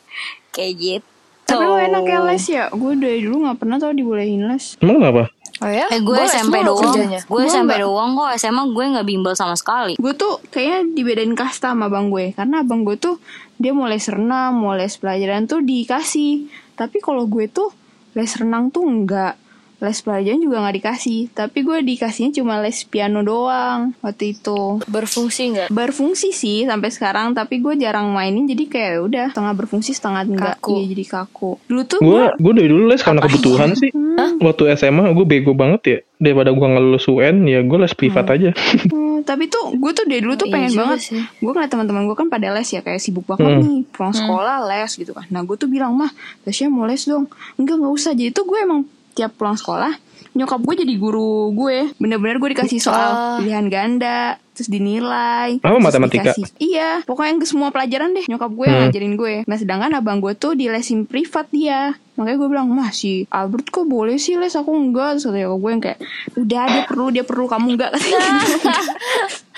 S2: kayak gitu
S4: Tapi lo enak ya les ya? Gue dari dulu gak pernah tau dibolehin les.
S1: Emang kenapa?
S3: Oh ya?
S2: eh gue
S3: Boleh
S2: SMP
S3: semua lo
S2: doang
S3: kerjanya.
S2: gue
S4: Gua
S2: SMP
S4: enggak.
S2: doang kok SMA gue nggak bimbel sama sekali
S4: Gue tuh kayaknya dibedain kasta sama abang gue. Karena abang gue tuh dia mau les renang, mau les pelajaran tuh dikasih. Tapi kalau gue tuh les renang tuh enggak. Les pelajaran juga gak dikasih. Tapi gue dikasihnya cuma les piano doang waktu itu.
S3: Berfungsi [LAUGHS] nggak?
S4: berfungsi sih sampai sekarang tapi gue jarang mainin jadi kayak udah setengah berfungsi setengah enggak
S3: Kaku.
S4: Iya, jadi kaku dulu tuh
S1: Gue gue dari dulu les karena kebutuhan sih. Waktu SMA gue bego banget ya. Daripada gue nggak lulus UN ya gue les privat
S2: Oh.
S1: aja.
S4: Hmm, tapi tuh gue tuh dari dulu tuh
S3: iya
S4: pengen
S3: juga
S4: banget
S3: sih. Hmm.
S4: gue ngeliat teman-teman gue kan pada les ya kayak sibuk banget
S1: Hmm.
S4: nih pulang sekolah les gitu kan nah gue tuh bilang mah Tasya mau les dong enggak nggak usah jadi tuh gue emang tiap pulang sekolah nyokap gue jadi guru gue bener-bener gue dikasih
S3: Oh.
S4: soal pilihan ganda terus dinilai
S1: Apa,
S4: terus
S1: matematika? Hmm.
S4: dikasih- iya pokoknya nggak semua pelajaran deh nyokap gue yang ngajarin gue nah sedangkan abang gue tuh di lesin privat dia makanya gue bilang mah si Albert kok boleh sih les aku enggak terus kata nyokap gue yang kayak udah dia perlu dia perlu kamu enggak
S3: Nah,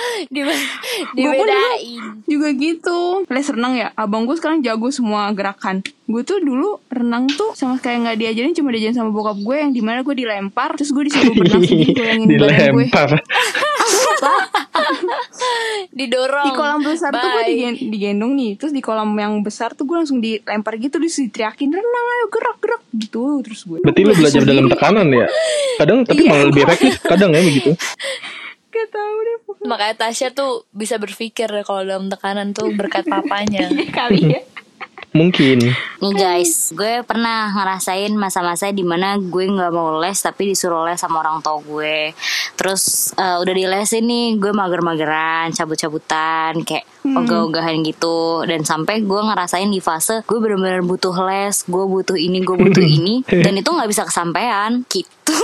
S3: [LAUGHS] Dibe-
S4: Gua pun
S3: dibedain
S4: dulu juga gitu les renang ya abang gue sekarang jago semua gerakan gue tuh dulu renang tuh sama kayak nggak diajarin cuma diajarin sama bokap gue yang dimana gue dilempar terus gue disuruh berenang sendiri
S1: [LAUGHS]
S4: goyangin badan gue
S1: Dilempar.
S3: Didorong
S4: di kolam besar tuh gue
S3: Bye.
S4: digen- digendong nih terus di kolam yang besar tuh gue langsung dilempar gitu terus diteriakin renang ayo gerak gerak gitu terus gue
S1: Berarti lu belajar dalam
S3: Iya.
S1: tekanan ya. Kadang tapi malah lebih efektif kadang ya begitu.
S4: gak tau deh pokoknya.
S3: Makanya Tasya tuh bisa berpikir kalau dalam tekanan tuh berkat papanya.
S4: kali [LAUGHS] ya
S1: Mungkin.
S3: Iya, Kan
S2: Nih guys, gue pernah ngerasain masa-masa dimana gue nggak mau les tapi disuruh les sama orang tua gue. Terus eh, udah di les ini gue mager-mageran, cabut-cabutan, kayak
S3: Hmm.
S2: ogah-ogahan gitu. Dan sampai gue ngerasain di fase gue bener-bener butuh les, gue butuh ini, gue butuh
S3: [LAUGHS]
S2: ini, dan itu nggak bisa kesampaian gitu.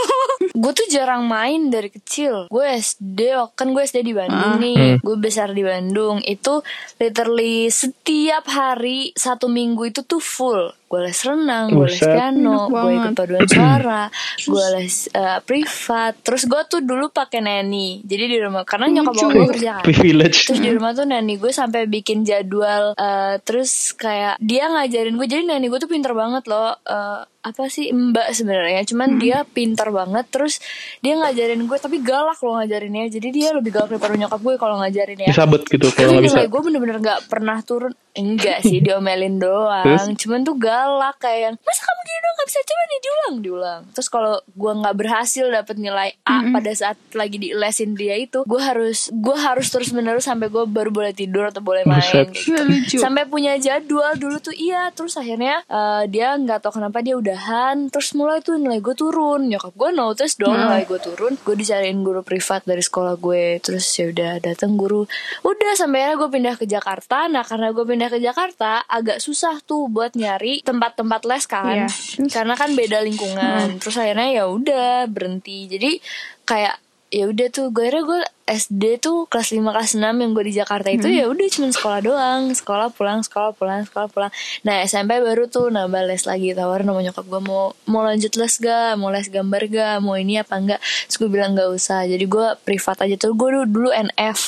S3: gue tuh jarang main dari kecil. Gue SD, kan gue SD di
S4: Ah.
S3: Bandung
S4: Hmm.
S3: nih. Gue besar di Bandung. Itu literally setiap hari satu minggu itu tuh full. Gue les renang, gue les
S1: Buset.
S3: piano,
S4: Enak
S3: gue ikut
S4: banget. [CLEARS THROAT]
S3: paduan suara, gue les eh, privat. Terus gue tuh dulu pakai nanny. Jadi di rumah karena nyokap
S4: Lucu.
S3: gue kerja kan.
S1: Privilege.
S3: Terus di rumah tuh nani gue sampai bikin jadwal eh, terus kayak dia ngajarin gue jadi nani gue tuh pinter banget loh eh, apa sih mbak sebenarnya cuman dia pinter banget terus dia ngajarin gue tapi galak loh ngajarinnya jadi dia lebih galak daripada nyokap gue kalau ngajarin ya
S1: Disabet gitu kalau nggak
S3: tapi
S1: bisa.
S3: nilai gue bener-bener gak pernah turun Enggak
S1: [LAUGHS]
S3: sih diomelin doang
S1: Terus?
S3: Cuman tuh galak kayak yang Masa kamu gini doang gak bisa coba nih diulang Diulang Terus kalau gue gak berhasil dapet nilai A Pada saat lagi di lesin dia itu Gue harus gue harus terus menerus sampai gue baru boleh tidur atau boleh main
S1: Buset.
S3: kayak gitu.
S4: Gila, lucu
S3: Sampai punya jadwal dulu tuh iya Terus akhirnya eh, dia nggak tahu kenapa dia udahan Terus mulai tuh nilai gue turun Nyokap gue notice dong nilai gue turun Gue dicariin guru privat dari sekolah gue Terus ya udah datang guru Udah sampai akhirnya gue pindah ke Jakarta Nah karena gue pindah ke Jakarta Agak susah tuh buat nyari tempat-tempat les kan
S4: Iya, terus?
S3: Karena kan beda
S4: Hmm.
S3: lingkungan Terus akhirnya ya udah berhenti Jadi kayak ya udah tuh gue akhirnya gue SD tuh kelas 5 kelas 6 yang gue di Jakarta itu
S4: Hmm.
S3: ya udah cuman sekolah doang sekolah pulang sekolah pulang sekolah pulang nah SMP baru tuh nambah les lagi tawaran sama nyokap gue mau mau lanjut les gak mau les gambar gak mau ini apa enggak terus gue bilang gak usah jadi gue privat aja tuh gue dulu, dulu NF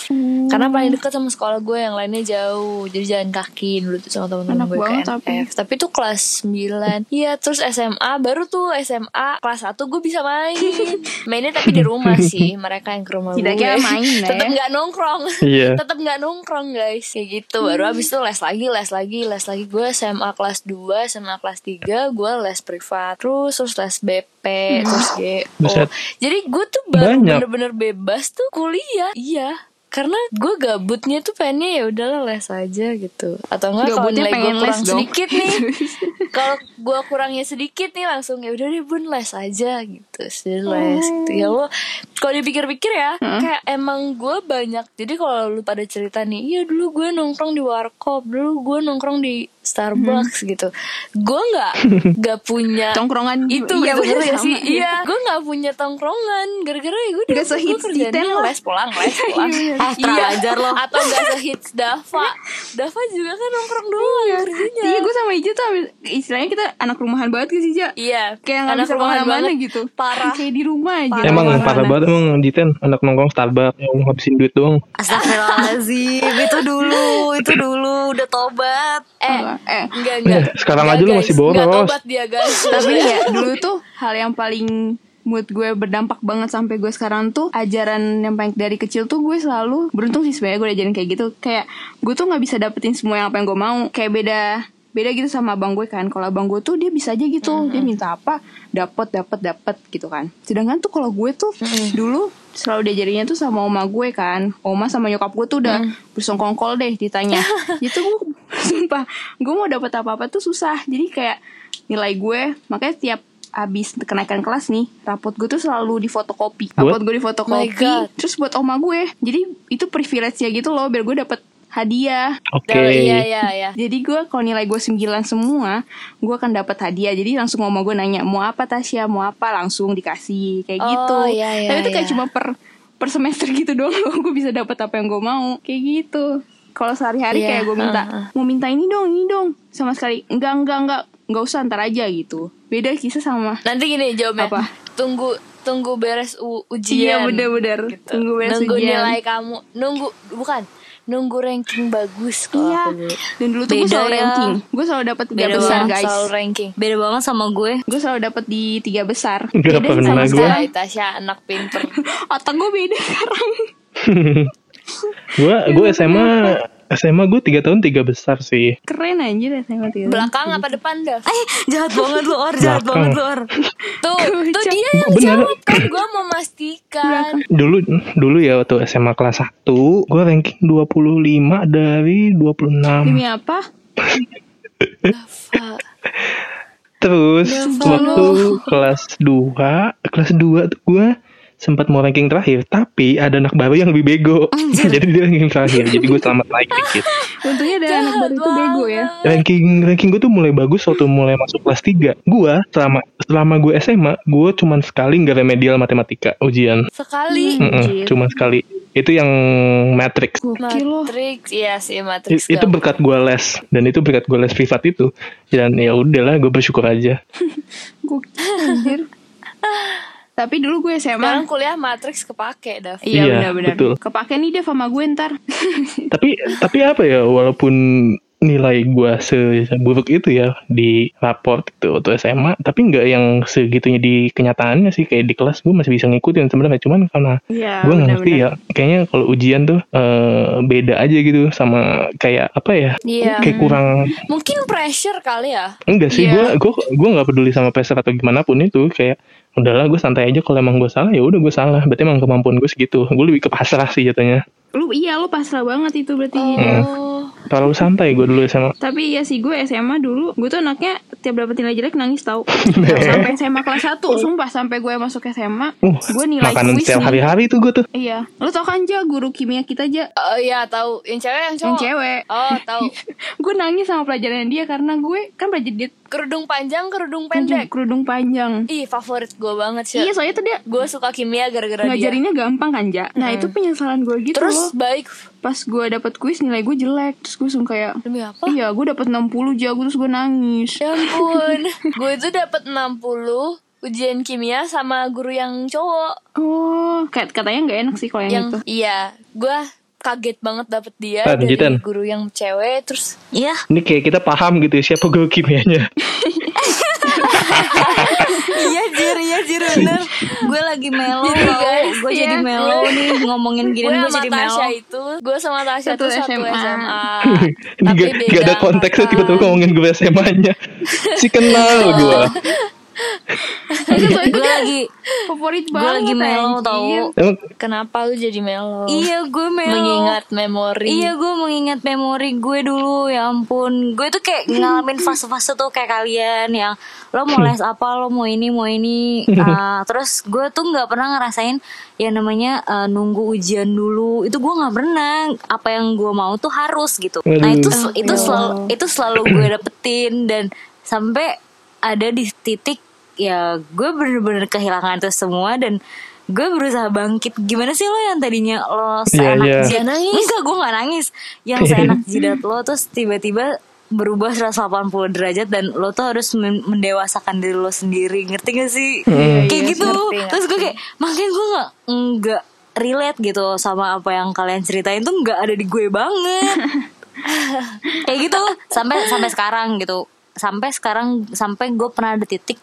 S3: karena paling
S4: Hmm.
S3: dekat sama sekolah gue yang lainnya jauh jadi jalan kaki dulu tuh sama
S4: Enak
S3: teman-teman gue ke
S4: banget
S3: NF
S4: tapi.
S3: Iya, tapi tuh kelas 9 Iya terus SMA Baru tuh SMA Kelas 1 gue bisa
S4: [LAUGHS]
S3: main Mainnya tapi di rumah sih Mereka yang ke rumah
S4: Setidaknya
S3: [LAUGHS] gue
S4: main lah ya.
S3: Tetep gak nongkrong
S1: Iya.
S3: [LAUGHS] Tetep gak nongkrong guys Kayak gitu Baru abis itu les lagi Les lagi Les lagi Gue SMA kelas 2 SMA kelas 3 Gue les privat Terus Terus les BP
S4: Hmm.
S3: Terus GO
S1: Buset.
S3: Jadi gue tuh baru
S1: Banyak.
S3: bener-bener bebas tuh kuliah Iya karena gue gabutnya tuh pengennya ya udahlah les aja gitu atau enggak kalau
S4: Gabutnya
S3: nilai gue
S4: pengen les
S3: kurang
S4: dong.
S3: sedikit
S4: [LAUGHS]
S3: nih kalau gue kurangnya sedikit nih langsung ya udah deh bun les aja gitu sih
S4: Oh.
S3: les gitu ya lo kalau dipikir-pikir ya kayak emang gue banyak jadi kalau lu pada cerita nih iya dulu gue nongkrong di warkop dulu gue nongkrong di Starbucks
S4: Hmm.
S3: gitu gue
S4: [LAUGHS]
S3: nggak nggak punya
S4: Tongkrongan
S3: itu
S4: iya,
S3: gitu
S4: bener
S3: ngerti gak
S4: sama,
S3: sih
S4: iya.
S3: iya gue nggak punya tongkrongan gara-gara ya gue
S4: Nggak
S3: gue
S4: sehits Iya,
S3: kerjanya
S4: Diten lah.
S3: les pulang
S4: [LAUGHS]
S3: les pulang Iya.
S2: Eh, kurang ajar lo.
S3: atau nggak sehits Dava Dava juga kan nongkrong doang kerjanya
S4: Iya gue sama Ija tuh ambil, istilahnya kita anak rumahan banget gak sih Ija?
S3: iya
S4: Kayak gak
S3: anak
S4: bisa
S3: rumahan
S4: kemana-mana
S3: banget.
S4: gitu
S3: parah
S4: Kayak di rumah aja
S3: Parah
S1: Emang
S3: Orang-orang
S1: parah banget emang Diten anak nongkrong Starbucks yang ngabisin duit doang.
S3: [LAUGHS]
S2: Astagfirullahaladzim Itu dulu Itu dulu Udah tobat
S3: eh
S4: Eh
S3: enggak enggak
S1: Sekarang
S3: Enggak,
S1: aja lu
S3: guys.
S1: masih
S3: Enggak
S1: boros.
S3: tobat dia guys
S4: Tapi ya dulu tuh hal yang paling mood gue berdampak banget sampai gue sekarang tuh ajaran yang paling dari kecil tuh gue selalu beruntung sih sebenarnya gue diajarin kayak gitu kayak gue tuh nggak bisa dapetin semua yang apa yang gue mau kayak beda beda gitu sama abang gue kan kalau abang gue tuh dia bisa aja gitu dia minta apa dapet dapet dapet gitu kan sedangkan tuh kalau gue tuh dulu selalu diajarinya tuh sama oma gue kan oma sama nyokap gue tuh udah bersongkongkol deh ditanya itu gue sumpah gue mau dapet apa apa tuh susah jadi kayak nilai gue makanya setiap abis kenaikan kelas nih rapot gue tuh selalu difotokopi rapot
S1: Buat?
S4: gue
S3: Oh My
S4: difotokopi
S3: God.
S4: terus buat oma gue jadi itu privilege ya gitu loh biar gue dapet hadiah
S1: Oke.
S3: Dalam- iya iya iya
S4: Ah. jadi gue kalau nilai gue 9 semua gue akan dapet hadiah jadi langsung oma gue nanya mau apa Tasya mau apa langsung dikasih kayak
S3: Oh,
S4: gitu
S3: iya, iya,
S4: tapi itu kayak
S3: iya.
S4: cuma per per semester gitu doang loh gue bisa dapet apa yang gue mau kayak gitu kalau sehari-hari
S3: Iya,
S4: kayak gue minta mau minta ini dong ini dong sama sekali enggak enggak enggak enggak usah ntar aja gitu beda kisah sama
S3: nanti gini jawabnya
S4: Apa?
S3: tunggu tunggu beres u-
S4: Iya,
S3: ujian
S4: bener-bener. Tunggu beres
S3: gitu. nunggu
S4: ujian.
S3: nilai kamu nunggu bukan nunggu ranking bagus kalau
S4: iya
S3: aku dulu
S4: dan dulu tuh gue
S2: Beda
S4: selalu
S2: ya.
S4: ranking gue selalu dapet tiga
S3: Beda
S4: besar
S3: banget,
S4: guys
S3: selalu ranking
S2: Beda banget sama gue
S4: gue selalu dapet di tiga besar
S1: Nggak
S4: Beda sih
S1: pernah
S4: sama
S1: gue.
S4: sekarang.
S3: Tasya, Tasya anak
S4: [LAUGHS]
S3: pinter
S4: otak gue beda sekarang
S1: Gue gue SMA SMA gue 3 tahun 3 besar sih.
S4: keren anjir ya saya waktu itu.
S3: belakang apa depan dah
S2: Eh jahat banget lu Or Jahat
S1: Belakang.
S2: banget lu Or
S3: tuh tuh dia yang
S1: Bener.
S3: jawab kan gue memastikan
S1: Dulu dulu ya waktu SMA kelas 1 gue ranking 25 dari 26.
S4: demi apa
S3: Fa-
S1: Terus
S3: Demi
S1: waktu kelas 2, kelas 2 tuh gue sempat mau ranking terakhir tapi ada anak baru yang lebih bego [LAUGHS] jadi dia ranking terakhir jadi gue selamat naik dikit
S4: untungnya ada anak baru itu bego ya
S1: ranking ranking gue tuh mulai bagus waktu mulai masuk kelas 3 gue selama selama gue SMA gue cuman sekali nggak remedial matematika ujian
S3: sekali
S1: Mm-mm, cuman sekali itu yang matrix
S4: gokil loh
S3: Matrix iya
S1: I-
S3: sih Matrix
S1: itu
S3: gak-
S1: berkat gue les dan itu berkat gue les privat itu dan ya udahlah gue bersyukur aja
S4: gokil [LAUGHS] anjir tapi dulu gue SMA
S3: sekarang kuliah Matrix kepake dah
S1: Iya,
S4: benar-benar
S1: betul.
S4: kepake nih dia sama gue
S1: [LAUGHS]
S4: ntar
S1: tapi tapi apa ya walaupun nilai gua seburuk itu ya di raport gitu waktu SMA tapi nggak yang segitunya di kenyataannya sih kayak di kelas gua masih bisa ngikutin sebenarnya cuman karena
S4: Iya,
S1: gua ngerti ya
S4: benar-benar.
S1: kayaknya kalau ujian tuh eh, beda aja gitu sama kayak apa ya
S3: Iya.
S1: kayak kurang
S3: mungkin pressure kali ya
S1: enggak sih
S4: Iya.
S1: gua gua gua nggak peduli sama pressure atau gimana pun itu kayak udahlah gue santai aja kalau emang gue salah ya udah gue salah berarti emang kemampuan gue segitu gue lebih ke pasrah sih jatuhnya
S4: lu iya lu pasrah banget itu berarti
S1: Hmm.
S3: oh
S1: terlalu santai gue dulu SMA
S4: Tapi ya sih gue SMA dulu, gue tuh anaknya tiap dapet nilai jelek nangis
S1: [LAUGHS]
S4: tau. sampai SMA kelas 1, sumpah sampai gue masuk SMA,
S1: Uh,
S4: gue nilai
S1: makanan
S4: kuis
S1: setiap
S4: nih.
S1: hari-hari tuh gue tuh.
S4: Iya, lo tau kan Ja guru kimia kita aja
S3: Oh iya tahu yang cewek yang cowok
S4: yang cewek.
S2: Iya.
S4: [LAUGHS]
S3: oh tahu
S4: gue nangis sama pelajaran dia karena gue kan pelajaran dia
S3: kerudung panjang, kerudung pendek.
S4: kerudung panjang.
S3: Ih, favorit gue banget sih.
S4: Iya, soalnya tuh dia
S3: Gue suka kimia gara-gara dia.
S4: ngajarinnya gampang kan, Ja.
S2: Hmm.
S4: Nah, itu penyesalan gue gitu
S3: Terus
S4: loh.
S3: baik
S4: Pas gue dapet kuis nilai gue jelek, terus gue langsung kayak
S3: demi apa?
S4: Iya, gue dapet 60 jago terus gue nangis.
S2: Iya.
S3: Ya
S4: [LAUGHS]
S3: ampun. gue itu dapat 60 ujian kimia sama guru yang cowok
S4: Oh, kayak katanya nggak enak sih kalau yang,
S3: yang
S2: [LAUGHS]
S4: itu.
S3: iya, gue kaget banget dapet dia
S1: Tan,
S3: dari
S1: Jitan.
S3: guru yang cewek terus
S2: Iya,
S1: Ini kayak kita paham gitu ya, siapa guru
S4: [LAUGHS]
S1: kimianya.
S2: iya jir, iya jir bener. Gue lagi melo,
S3: Jadi,
S2: tau.
S3: guys,
S2: gue jadi iya.
S3: ya.
S2: melo nih ngomongin gini
S3: gue
S2: gue
S3: sama
S2: jadi
S3: Tasya
S2: melo.
S3: itu gue sama Tasya
S4: Satu
S3: tuh satu
S4: SMA.
S3: SMA,
S1: [LAUGHS] Ini
S3: tapi
S1: gak,
S3: beda
S1: gak ada konteksnya
S3: angkatan.
S1: tiba-tiba ngomongin gue
S4: [LAUGHS]
S1: SMA-nya. Si kenal gue.
S2: Gue lagi,
S4: Favorit
S2: gue
S4: banget.
S2: lagi melo
S4: anjir.
S2: tau.
S1: Emang
S3: kenapa lu jadi melo
S2: Iya gue melo.
S3: mengingat memori
S2: Iya gue mengingat memori gue dulu ya ampun Gue tuh kayak ngalamin fase-fase tuh kayak kalian yang Lo mau les apa, lo mau ini, mau ini Ah, Terus gue tuh gak pernah ngerasain yang namanya eh, nunggu ujian dulu Itu gue gak pernah apa yang gue mau tuh harus gitu Nah itu
S1: Aduh.
S2: itu selalu itu selalu gue dapetin Dan sampai ada di titik ya gue bener-bener kehilangan itu semua dan gue berusaha bangkit gimana sih lo yang tadinya lo seenak
S1: iya.
S2: jidat- Enggak, gue gak nangis Yang
S1: [LAUGHS]
S2: seenak jidat lo Terus tiba-tiba berubah 180 derajat Dan lo tuh harus men- mendewasakan diri lo sendiri Ngerti gak sih?
S1: Hmm. Iya,
S2: kayak gitu Terus gue kayak Makanya gue gak Enggak relate gitu Sama apa yang kalian ceritain tuh Enggak ada di gue banget Kayak gitu Sampai sampai sekarang gitu Sampai sekarang Sampai gue pernah ada titik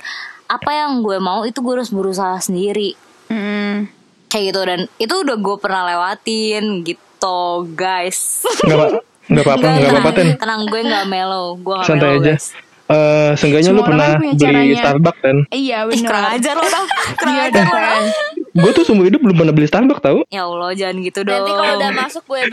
S2: Apa yang gue mau Itu gue harus berusaha sendiri
S4: Mm.
S2: kayak gitu dan itu udah gue pernah lewatin gitu guys
S1: gak, apa- gak apa-apa,
S2: Nggak,
S1: gak apa-apa, Ten.
S2: tenang, tenang gue nggak melo gue nggak
S1: Santai
S2: melo
S1: aja.
S2: guys
S1: Eh, seenggaknya lu
S4: Semua orang kan
S1: pernah
S4: punya
S1: beli
S4: caranya.
S1: Starbucks, kan? Ten.
S4: Iya,
S2: Ih, kurang
S4: benar.
S2: ajar lo
S3: [LAUGHS]
S2: tau kurang
S4: Iya,
S2: ajar lo
S4: Tan.
S2: tau
S1: Gue tuh seumur hidup belum pernah beli Starbucks tau.
S2: ya allah jangan gitu dong
S3: nanti kalau udah masuk gue
S4: Iya.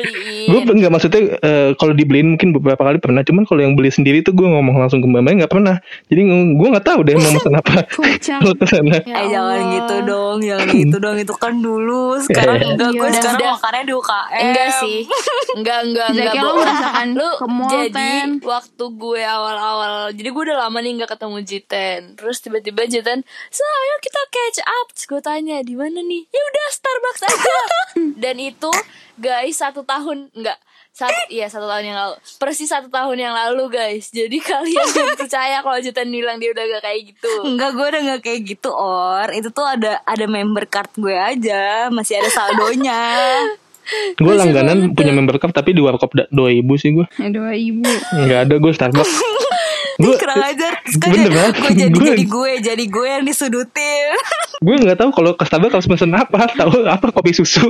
S1: Gue
S3: beliin
S1: nggak maksudnya eh, kalau dibeliin mungkin beberapa kali pernah, cuman kalau yang beli sendiri tuh gue ngomong langsung ke mbak nggak pernah. Jadi gue nggak tahu deh
S4: [LAUGHS]
S1: mau pesan apa.
S4: Kocak. Iya.
S1: Kalau kesana.
S3: Ya
S2: eh jangan
S3: Allah.
S2: gitu dong
S1: [LAUGHS]
S2: jangan gitu dong itu kan dulu sekarang
S1: Iya.
S2: enggak gue
S4: Iya.
S2: sekarang
S3: Udah.
S2: makannya di UKM
S3: Enggak sih Enggak, enggak, enggak
S4: Zakiya, lo
S3: bohong.
S4: merasakan
S3: Lu
S4: ke mall,
S3: jadi
S4: Ten.
S3: waktu gue awal-awal Jadi gue udah lama nih gak ketemu Jiten Terus tiba-tiba Jiten So, ayo kita catch up Terus gue tanya, di mana nih? Ya udah, Starbucks [LAUGHS] aja Dan itu, guys, satu tahun Enggak, satu, iya satu tahun yang lalu Persis satu tahun yang lalu, guys Jadi [LAUGHS] kalian jangan percaya kalau Jiten bilang dia udah gak kayak gitu
S2: Enggak gue udah gak kayak gitu Or Itu tuh ada ada member card gue aja Masih ada saldonya
S1: Gue langganan punya member cup tapi di warkop da- 2000 sih gue.
S4: Aduh, ibu.
S1: Nggak ada gue Starbucks.
S2: Ih,
S1: Gue
S2: kurang ajar Terus kan
S1: bener
S2: jadi-
S1: banget.
S2: Gue jadi,
S1: Gue-
S2: jadi gue Jadi gue yang disudutin [LAUGHS]
S1: gue nggak tahu kalau ke Starbucks harus pesen apa. [LAUGHS] Tahu apa kopi susu.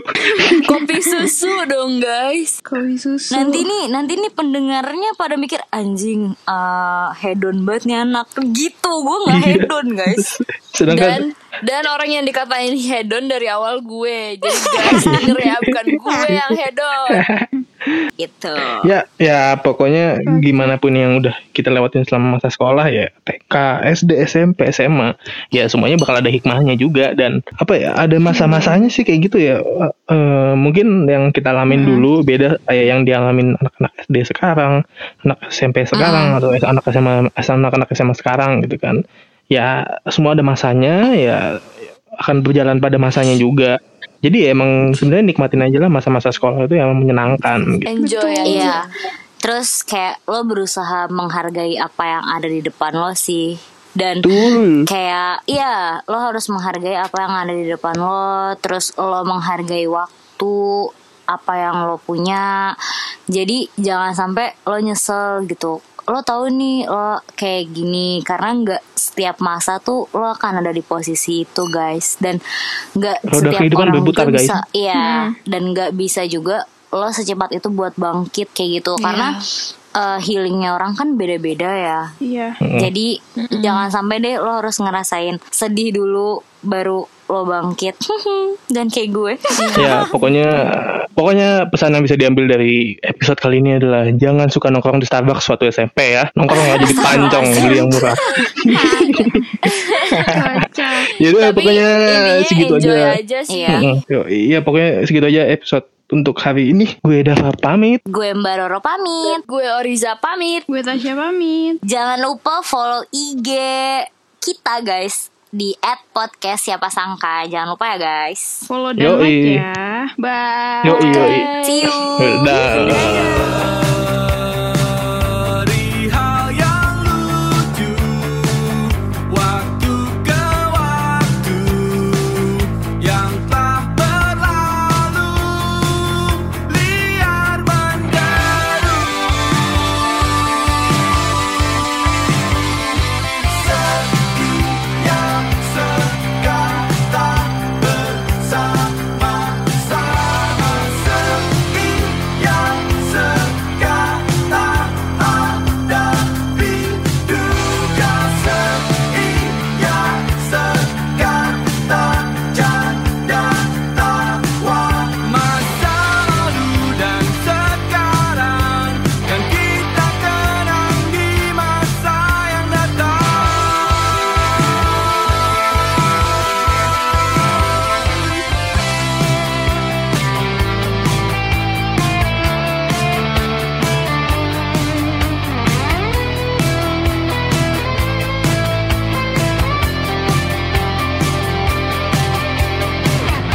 S3: Kopi susu dong, guys
S4: Kopi susu.
S2: Nanti nih, nanti nih pendengarnya pada mikir anjing eh hedon banget nih anak. Gitu, gue nggak hedon guys.
S1: Sedangkan
S3: dan dan orang yang dikatain hedon dari awal gue jadi guys denger ya bukan gue yang hedon
S2: Gitu.
S1: ya ya pokoknya gimana pun yang udah kita lewatin selama masa sekolah ya TK, SD, SMP, SMA ya semuanya bakal ada hikmahnya juga dan apa ya ada masa-masanya sih kayak gitu ya Eh, eh, mungkin yang kita alamin dulu beda kayak yang dialamin anak-anak SD sekarang, anak SMP sekarang atau anak SMA anak-anak SMA sekarang gitu kan ya semua ada masanya ya akan berjalan pada masanya juga jadi ya emang sebenarnya nikmatin aja lah masa-masa sekolah itu yang menyenangkan gitu.
S3: enjoy aja
S2: Iya. Terus kayak lo berusaha menghargai apa yang ada di depan lo sih. Dan
S1: Betul.
S2: kayak iya lo harus menghargai apa yang ada di depan lo terus lo menghargai waktu apa yang lo punya jadi jangan sampai lo nyesel gitu lo tahu nih lo kayak gini karena nggak setiap masa tuh lo akan ada di posisi itu guys dan nggak
S1: Roda
S2: setiap
S1: kehidupan
S2: orang
S1: berputar,
S2: tuh
S1: guys.
S2: bisa Iya, dan nggak bisa juga lo secepat itu buat bangkit kayak gitu karena eh, healingnya orang kan beda-beda ya.
S4: Iya.
S2: Jadi jangan sampai deh lo harus ngerasain sedih dulu baru lo bangkit [LAUGHS] dan kayak gue.
S1: ya pokoknya pokoknya pesan yang bisa diambil dari episode kali ini adalah jangan suka nongkrong di Starbucks suatu SMP ya nongkrong aja di pancong beli yang murah
S4: Kocak.
S1: jadi
S3: tapi
S1: pokoknya
S3: intinya
S1: [LAUGHS] segitu
S3: enjoy
S1: aja
S3: aja ya. sih
S2: Iya.
S1: Mm-mm. Yo, iya pokoknya segitu aja episode untuk hari ini gue Dava pamit.
S2: Gue Mbak Roro pamit.
S3: Gue Oriza pamit.
S4: Gue Tasya pamit.
S2: Jangan lupa follow IG kita guys di at podcast siapa sangka. Jangan lupa ya guys.
S4: Follow dan like
S1: Yoi.
S4: ya. Bye.
S1: Yoi, yoi.
S2: See you.
S1: Dah.